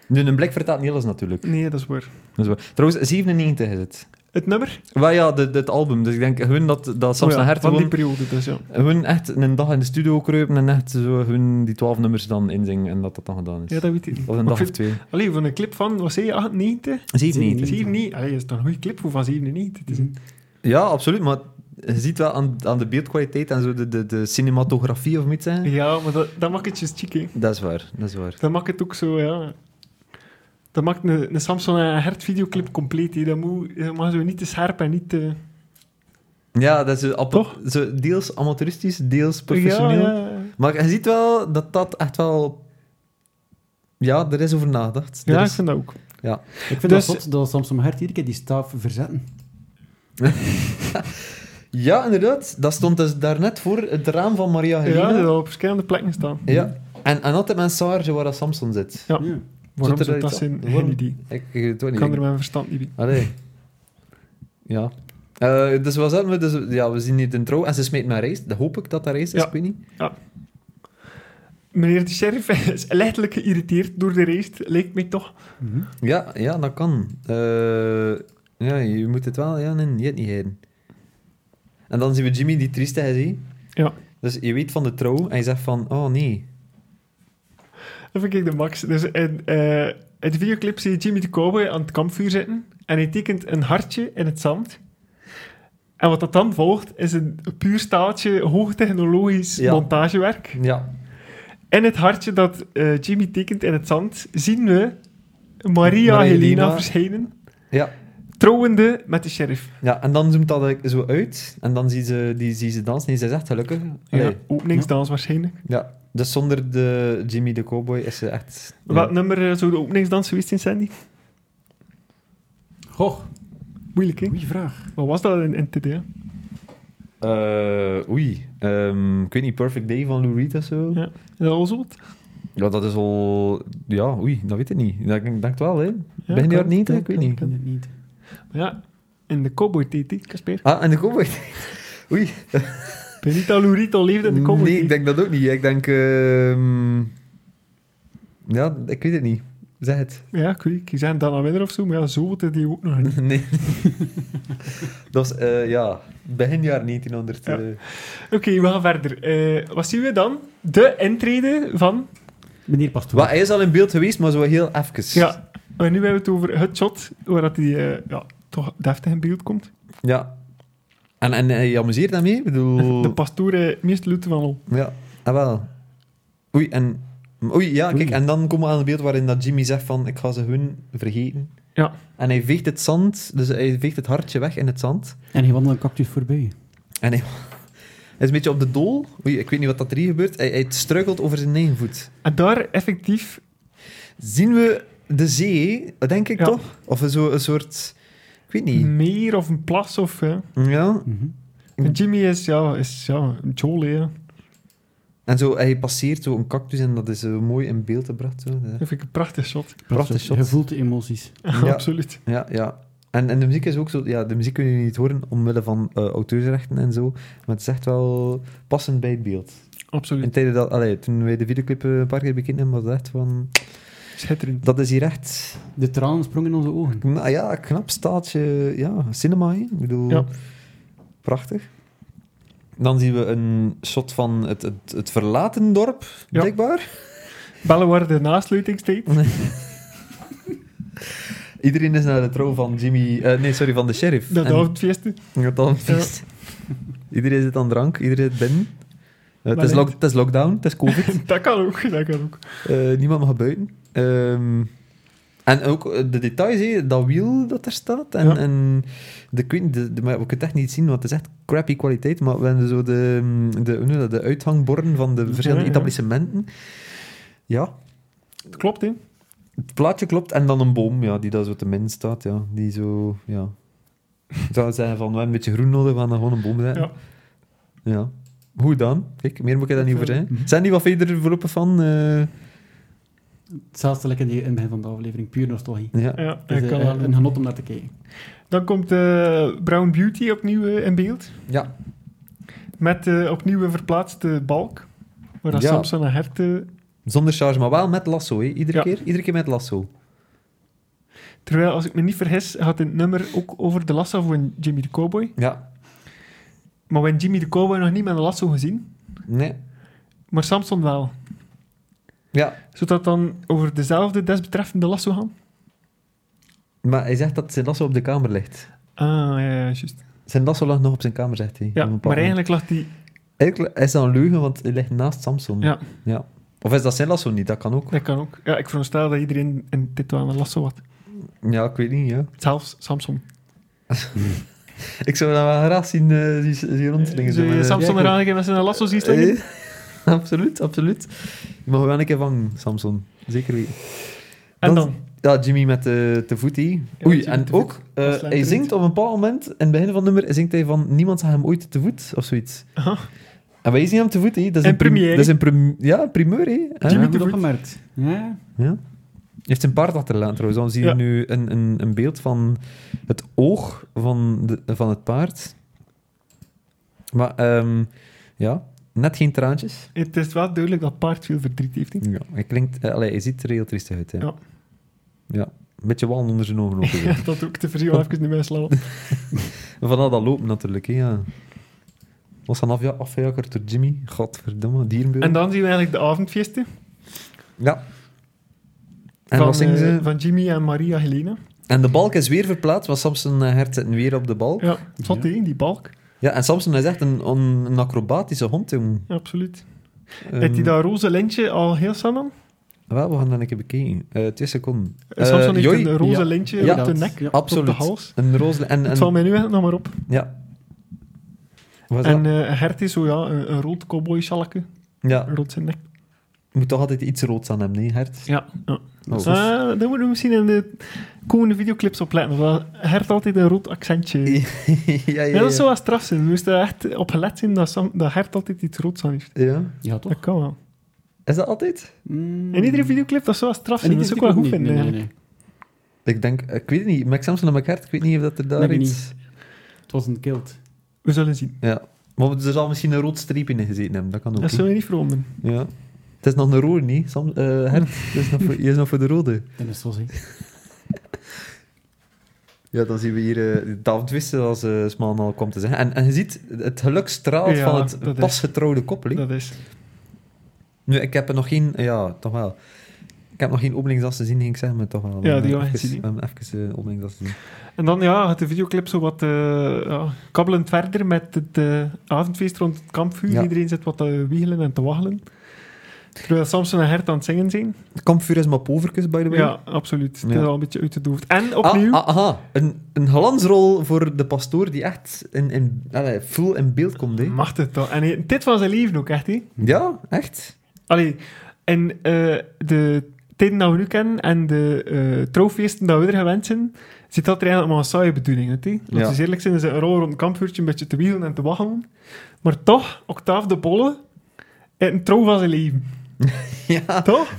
Nu, een blik vertaalt niet alles natuurlijk.
nee, dat is waar.
Dat is waar. Trouwens, 97 is het.
Het nummer?
Wel ja, de- het album. Dus ik denk gewoon dat, dat Samson
Oh ja,
Hert
van die
gewoon,
periode dus, ja.
gewoon echt een dag in de studio kruipen en echt zo hun die 12 nummers dan inzingen en dat dat dan gedaan is.
Ja, dat weet ik niet.
Of een
Maar
dag
ik vind-
of twee.
Allee, van een clip van, wat zei je, 98?
97.
97? Allee, dat is toch een goede clip voor van 97 te zien.
Ja, absoluut. Maar je ziet wel aan, aan de beeldkwaliteit en zo de, de, de cinematografie of iets. Hè?
Ja, maar dat, dat maakt het just chic, hè.
Dat is waar, dat is waar.
Dat maakt het ook zo, ja... Dat maakt een, een Samson en een Hert videoclip compleet, hè. Dat moet, dat mag zo niet te scherp en niet te...
Ja, dat is zo, appel-
Toch?
zo deels amateuristisch, deels professioneel.
Ja, ja.
Maar je ziet wel dat dat echt wel... Ja, er is over nagedacht. Er
ja ik
is-
vind dat ook.
Ik vind
Dus-
dat zot dat Samsung Hert iedere keer die staaf verzetten.
ja, inderdaad. Dat stond dus daarnet voor het raam van Maria
Ja,
Helena.
dat
Ja,
al op verschillende plekken staan.
En, en altijd mijn saarje waar dat Samson zit.
Ja.
Ja.
Waarom
Zit er
zou dat
iets
zijn?
aan? Waarom?
Geen idee.
Ik, ik weet het ook
Ik
niet.
kan er mijn verstand niet bij.
Allee. Ja. Eh, dus wat zaten we? Dus, ja, we zien niet in trouw. En ze smeet mijn race. Dat hoop ik dat dat race is,
Ja.
ik weet niet.
Meneer de sheriff is lichtelijk geïrriteerd door de race, leek mij toch.
Ja, ja dat kan. Eh, ja, je moet het wel... Ja, nee, je hebt niet heen. En dan zien we Jimmy die trieste hij ziet.
Ja.
Dus je weet van de trouw en je zegt van... Oh, nee.
Dat vind ik de max. Dus in, eh, in de videoclip zie je Jimmy de Cowboy aan het kampvuur zitten en hij tekent een hartje in het zand. En wat dat dan volgt, is een puur staaltje hoogtechnologisch
Ja.
montagewerk.
Ja.
In het hartje dat eh, Jimmy tekent in het zand, zien we Maria
Maria
Helena
Helena.
verschijnen,
Ja.
trouwende met de sheriff.
Ja, en dan zoomt dat zo uit. En dan zien ze, die, zien ze dansen. En ze is echt gelukkig. Allee,
Ja, openingsdans waarschijnlijk.
ja. Dus zonder de Jimmy de Cowboy is ze echt...
Welk nummer eh, zou de openingsdans geweest zijn, Sandy?
Goh,
Moeilijk, hè?
goeie vraag.
Wat was dat in, in TD? hè?
Eh, oei. Ehm, ik weet niet, Perfect Day van Lou Reed of zo?
Ja. Is dat al zo wat?
Ja, dat is al... Ja, oei, dat weet ik niet. Dat- Ik denk het wel, hè.
Ja,
Begin
kan,
jaren 90?
kan,
Ik weet
kan,
niet.
Ik ken het niet.
Ja, in de cowboy TT, Casper.
Ah, en de Cowboy. Oei.
Benita Lurito leefde in de cowboy
Nee,
TT.
ik denk dat ook niet. Ik denk... ehm, Ja, ik weet het niet. Zeg het.
Ja, ik weet die zijn dan aan winnaar of zo, maar ja, zo wat is die ook nog niet.
Nee. dat was, eh, ja, begin jaar 1900.
Ja.
eh.
Oké, we gaan verder. Eh, wat zien we dan? De intrede van...
Meneer Pastoor.
Wat, hij is al in beeld geweest, maar zo heel even.
Ja, maar nu hebben we het over het shot, waar dat die eh, ja, toch deftig in beeld komt.
Ja. En, en eh, je amuseert daarmee? Ik bedoel...
De pastoor eh, meest lute van al.
Ja, ah, wel. Oei, en... Oei, ja,
Oei.
kijk, en dan komen we aan het beeld waarin dat Jimmy zegt van, ik ga ze hun vergeten.
Ja.
En hij veegt het zand, dus hij veegt het hartje weg in het zand.
En hij wandelt een cactus voorbij.
Mhm.
En hij, hij is een beetje op de dool. Oei, ik weet niet wat dat er hier gebeurt. Hij, hij struikelt over zijn eigen voet.
En daar effectief...
Zien we de zee, denk ik
Ja.
toch? Of zo een soort... Ik weet niet.
Meer of een plas of... eh,
Ja.
Mhm.
en Jimmy is, ja, is ja, een jolie, hè.
En zo, hij passeert zo een cactus en dat is eh, mooi in beeld gebracht. Zo. Ja.
Dat vind ik een prachtig shot.
Prachtig shot.
Je voelt de emoties.
Ja.
Absoluut.
Ja, ja. En, en de muziek is ook zo... Ja, de muziek kun je niet horen omwille van eh, auteursrechten en zo. Maar het is echt wel passend bij het beeld.
Absoluut.
In tijden dat... Allee, toen wij de videoclip eh, een paar keer bekeken hebben, was het echt van...
Schitterend.
Dat is hier echt...
De tranen sprongen in onze ogen.
Nou ja, knap staaltje... Ja, cinema, hè. Ik bedoel...
Ja.
Prachtig. Dan zien we een shot van het, het, het verlaten dorp,
Ja.
blijkbaar.
Bellen waar de nasluitingstijd.
Iedereen is naar de trouw van Jimmy... eh, nee, sorry, van de sheriff.
Dat
En-
avondfeesten.
Dat dan
Ja.
feest. Iedereen zit aan drank, iedereen zit binnen. Eh, het,
Maar
is
nee.
lock- het is lockdown, het is COVID.
Dat kan ook, dat kan ook.
Eh, niemand mag buiten. Ehm, en ook eh, de details, hè, dat wiel dat er staat. En,
Ja.
en de, ik weet niet, de, de- maar we kunnen het echt niet zien, want het is echt crappy kwaliteit. Maar we hebben zo de, de, hoe noem je dat, de uithangborden van de verschillende
ja.
etablissementen. Ja,
Het klopt, hè.
het plaatje klopt. En dan een boom, ja, die daar zo te min staat. Ja, die zo, ja. Ik zou zeggen van, we hebben een beetje groen nodig, we gaan dan gewoon een boom zetten.
Ja.
Ja. Hoe dan? Kijk, meer moet ik daar niet over zeggen.
Mhm.
Zijn die wat verder voorlopig van? Eh,
Hetzelfde lekker in het begin van de aflevering. Puur nostalgie.
ja.
Ja,
Het
dat
is,
kan
eh,
wel.
een genot om naar te kijken.
Dan komt eh, Brown Beauty opnieuw eh, in beeld.
ja.
Met eh, opnieuw een verplaatste balk. Waar dat
Ja.
Samson en Hert... eh,
Zonder charge, maar wel met lasso. Hè. Iedere,
Ja.
keer, iedere keer met lasso.
terwijl, als ik me niet vergis, gaat het nummer ook over de lasso van Jimmy de Cowboy.
Ja.
Maar we hebben Jimmy de Cowboy nog niet met een lasso gezien.
Nee.
Maar Samson wel.
Ja.
Zodat dan over dezelfde desbetreffende lasso gaan?
Maar hij zegt dat zijn lasso op de kamer ligt.
Ah, ja, ja, juist.
Zijn lasso lag nog op zijn kamer, zegt hij.
Ja,
Op een
maar
bepaald moment.
eigenlijk lag die...
Eigenlijk is dat een leugen, want hij ligt naast Samson.
Ja.
ja. Of is dat zijn lasso niet? Dat kan ook.
Dat kan ook. Ja, ik veronderstel dat iedereen in dit wel een lasso had.
Ja, ik weet niet. Ja.
Zelfs Samson.
Ik zou dat wel graag zien, eh, zien, zien rondslingen.
Zou
zo, maar,
je
eh,
Dus, Samson
ja,
eraan geven met zijn lasso zien
ik-
slingen?
Eh, absoluut, absoluut. Je mag wel een keer vangen, Samson. Zeker weten.
en
dat-
dan?
Ja, Jimmy met de, de voet hier.
Ja,
Oei,
Jimmy
en
te voet.
ook, eh,
Dat is
hij zingt op een bepaald moment, in het begin van het nummer, zingt hij van niemand zag hem ooit te voet, of zoiets.
Aha.
En wij zien hem te voet, hè. Dat is
In
een prim-
première.
Dat is een prim- ja, primeur, hè. Hè?
Jimmy
Jimmy
de
het
Voet.
opgemerkt. Ja.
Ja. Hij heeft zijn paard achterlaten trouwens. Dan zien we
Ja.
nu een, een, een beeld van het oog van, de, van het paard. Maar ehm, ja, net geen traantjes.
Het is wel duidelijk dat paard veel verdriet heeft. hè.
Ja, hij, klinkt, eh, allee, hij ziet er heel triestig uit. Hè.
Ja.
Ja, een beetje walm onder zijn ogen. ook zo.
Ja, dat ook. Te verzinnen even niet meer slaan.
En Van al dat lopen natuurlijk. Hè, ja. Was dan af, ja, afgejakkerd door Jimmy. Godverdomme, dierenbeul.
En dan zien we eigenlijk de avondfeesten
Ja. En
van,
wat zingen ze? Oh.
eh, van Jimmy en Maria Helena.
En de balk is weer verplaatst, want Samson eh, hert zit weer op de balk.
Ja, zat
Ja.
die, die balk.
Ja, en Samson is echt een, een, een acrobatische hond, jong.
Ja, absoluut.
Ehm,
Heeft hij dat roze lintje al heel samen?
Wel, we gaan dat een keer bekijken. Eh twee seconden. Eh,
Samson heeft
Joy?
een roze
Ja.
lintje
Ja,
op de
dat-
nek,
ja.
op de
Absoluut.
hals.
Een roze... En,
Het
en,
valt mij nu echt nog maar op.
Ja. Wat is
En
dat?
eh Hert is zo, ja, een, een rood cowboy sjalke
Ja,
rond zijn nek.
moet toch altijd iets roods aan hem, nee, hert?
Ja. ja.
Oh.
Eh, daar moeten we misschien in de komende videoclips op letten. want Hert altijd een rood accentje. Ja,
ja, ja,
dat zou wel straf zijn. We moesten er echt op gelet zijn dat, Sam, dat Hert altijd iets roods aan heeft.
Ja.
Ja, toch?
Dat kan wel.
Is dat altijd?
Mm.
In
Hmm.
iedere videoclip, dat zou wel straf
En
zijn.
die
Dat
is
zou ik wel goed
niet.
vinden.
Nee, nee,
eigenlijk.
nee.
Ik denk... eh, Ik weet het niet. Max Samson en Mac Hert, ik weet niet of dat er daar
Nee, ik
iets...
Het was een kilt.
We zullen zien.
Ja. Maar er zal misschien een rood streepje in gezeten hebben, dat kan ook.
Dat
hè.
zullen we niet veranderen.
Ja. Het is nog een rode, niet? Sam, eh, hert, het is nog voor, hier is nog voor de rode.
En dat was hè.
Ja, dan zien we hier eh David Wisten als eh Smaan al komt te zeggen. En, en je ziet, het geluk straalt
Ja,
van
dat
het
is-
pasgetrouwde koppeling.
Dat is.
Nu, ik heb er nog geen... Ja, toch wel. Ik heb nog geen openingsas te zien, ging ik zeggen, maar toch wel.
Ja, die gaan we
even,
eens zien.
um, even eh, openingsas te zien.
En dan ja, gaat de videoclip zo wat eh, ja, kabbelend verder met het eh, avondfeest rond het kampvuur.
Ja.
Iedereen zit wat te wiegelen en te waggelen. Terwijl Samson en Hert aan het zingen zijn.
Het kampvuur is maar poverkes, by the way.
Ja, absoluut. Het
Ja.
is al een beetje uitgedoofd. En opnieuw,
Ah, ah, aha, een, een glansrol voor de pastoor die echt in, in, allee, full in beeld komt. Hè.
mag het dan. En hij- dit was zijn leven ook echt. Hè?
Ja, echt.
Allee, en eh, de tijden dat we nu kennen en de eh, trouwfeesten dat we er gewend zijn, zit dat er eigenlijk maar een saaie bedoeling uit. hè. Laten
Ja.
we eerlijk zijn, is een rol rond een kampvuurtje een beetje te wiegelen en te waggelen. Maar toch, Octave de Bolle, een trouw van zijn leven.
Ja.
Toch?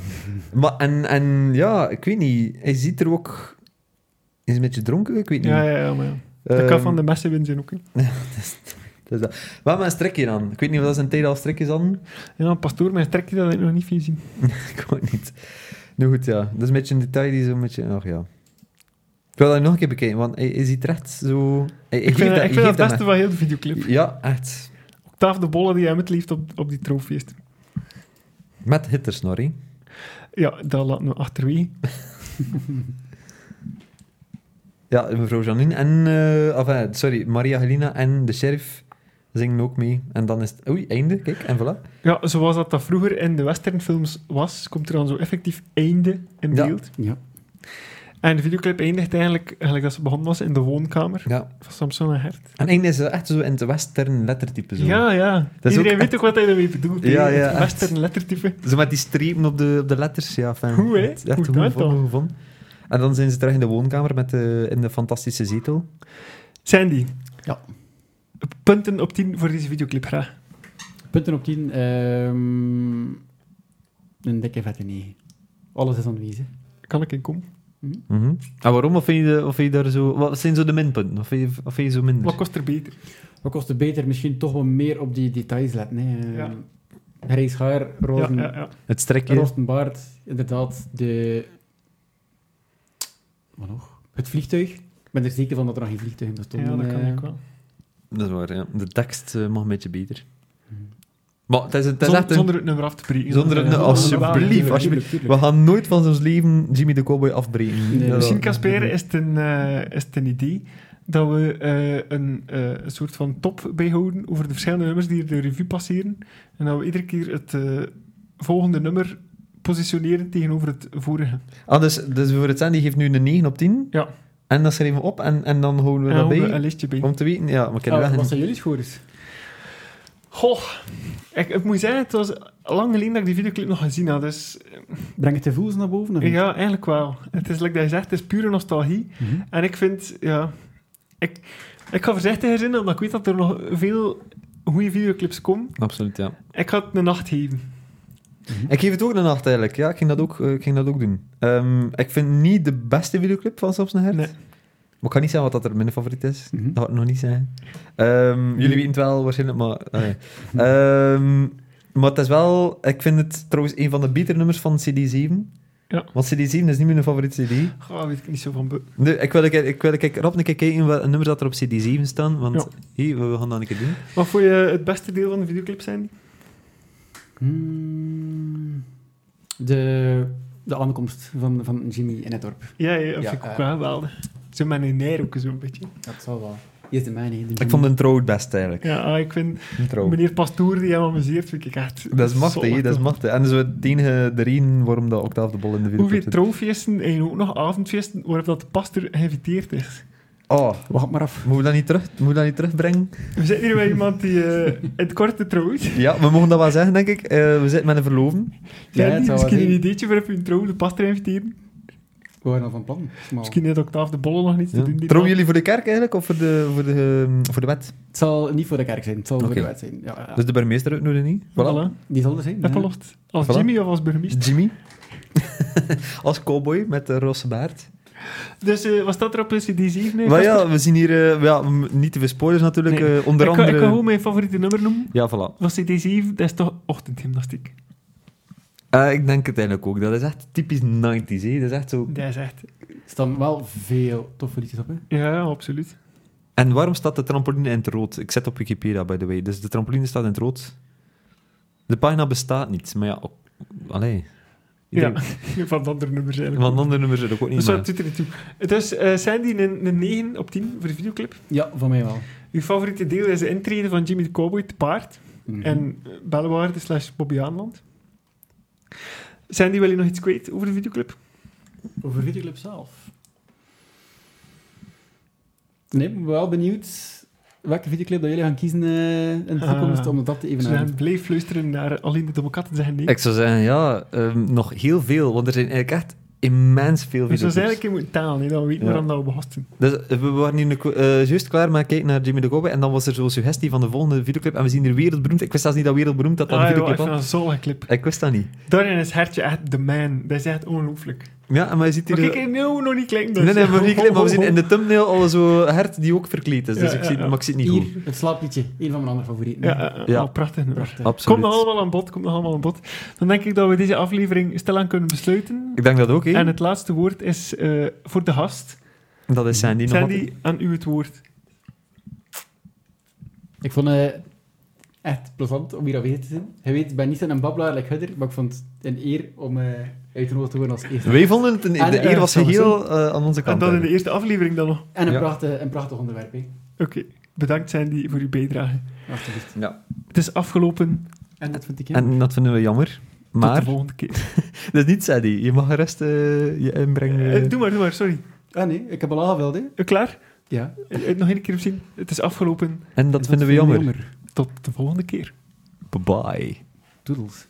Maar, en, en ja, ik weet niet. Hij ziet er ook... Hij is een beetje dronken, ik weet niet.
Ja, ja, ja, maar ja. Dat kan
Ehm,
van de messen winnen zijn ook. hè.
Dus dat. We hebben een strikje aan. Ik weet niet of dat zijn tijd al strikjes aan.
Ja, een pastoor met een trekje dat ik nog niet veel zien.
ik weet niet. Nou goed, ja. Dat is een beetje een detail die zo'n beetje... Ach ja. Ik wil dat nog een keer bekijken, want hij, hij ziet recht zo... Hij, hij
Ik
geeft
vind,
hij
ik vind
geeft
dat het
hem
beste van heel de videoclip.
echt- Ja, echt.
Octave de Bolle die hem het liefst op, op die trouwfeesten.
Met hittersnor, hè.
Ja, dat laten we achterwege.
Ja, mevrouw Janine en... eh enfin, sorry, Maria Helena en de sheriff zingen ook mee. En dan is het... Oei, einde, kijk, en voilà.
Ja, zoals dat, dat vroeger in de westernfilms was, komt er dan zo effectief einde in
Ja.
beeld.
Ja.
En de videoclip eindigt eigenlijk, eigenlijk dat ze begonnen was, in de woonkamer
Ja.
van Samson en Hert.
En einde is echt zo in het western lettertype zo.
Ja, ja.
Dat is
Iedereen
ook
weet ook wat hij ermee bedoelt. hè.
Ja, ja,
het
echt.
western lettertype.
Zo met die strepen op de, op de letters, ja. Fijn.
Hoe, hè?
Echt goed
Hoe dat
gevonden,
dan?
goed gevonden. En dan zijn ze terug in de woonkamer met de, in de fantastische zetel.
Sandy.
Ja.
Punten op 10 voor deze videoclip, graag.
Punten op 10. ehm, een dikke vette 9. Alles is aanwezig.
Kan ik in komen?
Mhm. En waarom? Of vind, je, de- of vind je daar zo... Wat zijn zo de minpunten? Of vind je, of vind je zo minder?
Wat kost er beter?
Wat kost het beter? Misschien toch wel meer op die details letten. Hè. Ehm,
Ja.
Grijs haar,
Ja,
rozen,
ja, ja.
Het strikje.
rozen baard. Inderdaad, de... Wat nog? Het vliegtuig. Ik ben er zeker van dat er nog geen vliegtuig in bestond. eh.
ja, dat
eh,
kan ik wel.
Dat is waar, ja. De tekst eh, mag een beetje beter.
Mhm.
Maar het is, het is
Zon-
echt een...
Zonder het nummer af te breken.
Zonder het-
Ja,
nou, alsjeblieft, alsjeblieft. We gaan nooit van ons leven Jimmy de Cowboy afbreken.
Nee.
Ja.
Misschien, Casper, is, het een, eh, is het een idee dat we eh, een eh, een soort van top bijhouden over de verschillende nummers die er de revue passeren. En dat we iedere keer het eh, volgende nummer positioneren tegenover het vorige.
Ah, dus, dus voor het zijn, die geeft nu een 9 op 10.
Ja.
En dat schrijven we op en, en dan houden we
En
dat
houden we
bij.
een lichtje bij.
Om te weten, ja, maar ik ken
Ah,
wel
wat
geen-
zijn jullie scores?
Goh, ik, ik moet zeggen, het was lang geleden dat ik die videoclip nog gezien had. Dus
Breng het de voels naar boven? Of niet?
ja, eigenlijk wel. Het is, like dat je zegt, het is pure nostalgie.
Mhm.
En ik vind, ja... Ik, ik ga voorzichtiger zijn, omdat ik weet dat er nog veel goede videoclips komen.
Absoluut, ja.
Ik ga het een nacht geven.
Ik geef het ook een nacht eigenlijk. Ja, ik ging dat ook, eh, ik ging dat ook doen. Ehm, ik vind niet de beste videoclip van Samson Hert.
Nee.
Maar ik kan niet zeggen wat dat er mijn favoriet is.
Mhm.
Dat ga ik nog niet zeggen. Ehm, Hm? jullie weten het wel waarschijnlijk, maar... ah, ja. Ehm, maar het is wel... Ik vind het trouwens een van de betere nummers van CD7.
Ja.
Want CD7 is niet mijn favoriete CD.
Goh, weet ik niet zo van... be-
Nee, ik wil, ik, ik wil ik, rap een keer kijken welke nummers dat er op CD7 staan. Want hé, we we gaan dat een keer doen.
Wat vond je het beste deel van de videoclip zijn?
Hmm. De, de aankomst van, van Jimmy in het dorp.
Ja, ja,
Ja,
vind ik ook
eh.
wel geweldig. Zo met een neer ook zo'n beetje.
Dat zal wel. Hier is de mijne. hè, de
Ik
Jimmy.
vond de intro het best eigenlijk.
Ja, ah, ik vind
Een Intro.
meneer Pastoor die hem amuseert, vind ik echt...
Oh. Dat is machtig, hè,
zot.
dat is machtig. En zo het enige, de reden waarom dat Octave de Bol in de
Hoeveel
videoclip zit.
trouwfeesten en ook nog avondfeesten waarop dat de pastor geïnviteerd is.
Oh,
Wacht maar af.
moeten we dat niet, terug, moeten we dat niet terugbrengen?
We zitten hier bij iemand die eh, in het korte trouwt.
Ja, we mogen dat wel zeggen, denk ik. Eh, we zitten met een verloven.
Ja,
het
die
zou wel
misschien een
zijn.
ideetje voor op hun trouw de pastor inviteren.
We waren al van plan. Maar
Misschien heeft Octave de Bolle nog niets
Ja.
te doen. die
Trouwen
dag.
jullie voor de kerk eigenlijk, of voor de, voor de, ehm, voor de wet?
Het zal niet voor de kerk zijn. Het zal voor
Oké.
de wet zijn. Ja, ja.
Dus de burgemeester uitnodigen niet? Voilà.
Voilà.
Die zal er zijn.
Dat
ja.
beloft. Als
Voilà.
Jimmy of als burgemeester.
Jimmy. Als cowboy met de roze baard.
Dus eh wat staat er op de CD7?
maar ja, we zien hier eh, ja, m- niet te veel spoilers natuurlijk.
Nee.
eh, onder
ik, ga,
andere...
ik ga gewoon mijn favoriete nummer noemen.
Ja, voilà.
Van CD7, dat is toch ochtendgymnastiek.
Eh, ik denk het eigenlijk ook. Dat is echt typisch 90s. Hè. Dat is echt zo...
Dat is echt...
Er staan wel veel toffe liedjes op. Hè.
Ja, ja, absoluut.
En waarom staat de trampoline in het rood? Ik zet op Wikipedia, by the way. Dus de trampoline staat in het rood. De pagina bestaat niet, maar ja... Op... Allee.
Ja, van de andere nummers eigenlijk.
Want andere nummers er ook niet
Dus
maar-
wat doet er niet toe? Dus eh Sandy, een, een 9 op 10 voor de videoclip.
Ja, voor mij wel.
Uw favoriete deel is de intrede van Jimmy de Cowboy te paard
Mhm.
en eh, Bellewaarde slash Bobby Aanland. Sandy, wil je nog iets kwijt over de videoclip?
Over videoclip zelf? Nee, ik ben wel benieuwd welke videoclip dat jullie gaan kiezen eh, in de
Ah.
toekomst om dat te
Ze
even
zeggen, blijf luisteren naar alleen de domme katten zeggen nee.
Ik zou zeggen, ja, ehm, nog heel veel. Want er zijn eigenlijk echt immens veel
dus dat
videoclips.
is eigenlijk in moeten talen, hè, dan weten we
Ja.
waarom dat we begonnen zijn.
Dus eh, we waren hier nu ko- eh, juist klaar met kijken naar Jimmy de Cowboy. En dan was er zo'n suggestie van de volgende videoclip. En we zien er wereldberoemd. Ik wist zelfs niet dat wereldberoemd dat dat een
Ah, joh, ik
videoclip
vind
was.
dat een zalige clip.
Ik wist dat niet.
Daarin is Hertje echt de man. Dat is echt ongelooflijk.
Ja, maar je ziet
Maar
hier...
kijk, ik nou nog niet klinken. Dus.
Nee, nee, maar, niet clip, maar we zien in de thumbnail al zo hert die ook verkleed is. Dus
Ja,
ik zie,
ja, ja.
maar ik zie het niet goed.
Hier, het slaapliedje. Een van mijn andere favorieten.
Ja, ja, ja.
Ja.
Oh, prachtig nummer.
Prachtig.
Absoluut.
Komt nog allemaal aan bod, komt nog allemaal aan bod. Dan denk ik dat we deze aflevering stilaan kunnen besluiten.
Ik denk dat ook, hè.
En het laatste woord is eh, voor de gast.
Dat is Sandy nog altijd.
Sandy, aan u het woord.
Ik vond het echt plezant om hier aanwezig te zijn. Je weet, ik ben niet zo'n babbelaar like Hudder, maar ik vond het een eer om eh uitgenodigd te worden als eerste.
Wij vonden het... Een,
En,
de
eh,
eer was
Samson.
geheel eh, aan onze
En
kant.
dan in de
eigenlijk.
eerste aflevering dan nog.
En een,
Ja.
prachtig, een prachtig onderwerp, hè.
Oké, bedankt Sandy voor uw bijdrage.
Alsjeblieft.
Ja.
Het is afgelopen.
En dat vind ik jammer.
En dat vinden we jammer.
Tot de
Maar...
volgende keer.
Dat is niet Sadie. Je mag de rest eh, je inbrengen.
Eh, doe maar, doe maar, sorry.
Ah nee, ik heb al aangevuld, hè.
Eh, klaar?
Ja. Dat,
Eh, eh, nog één keer opzien. Het is afgelopen.
en dat, vinden we
vind ik
jammer.
jammer.
Tot de volgende keer.
Bye bye.
Doedels.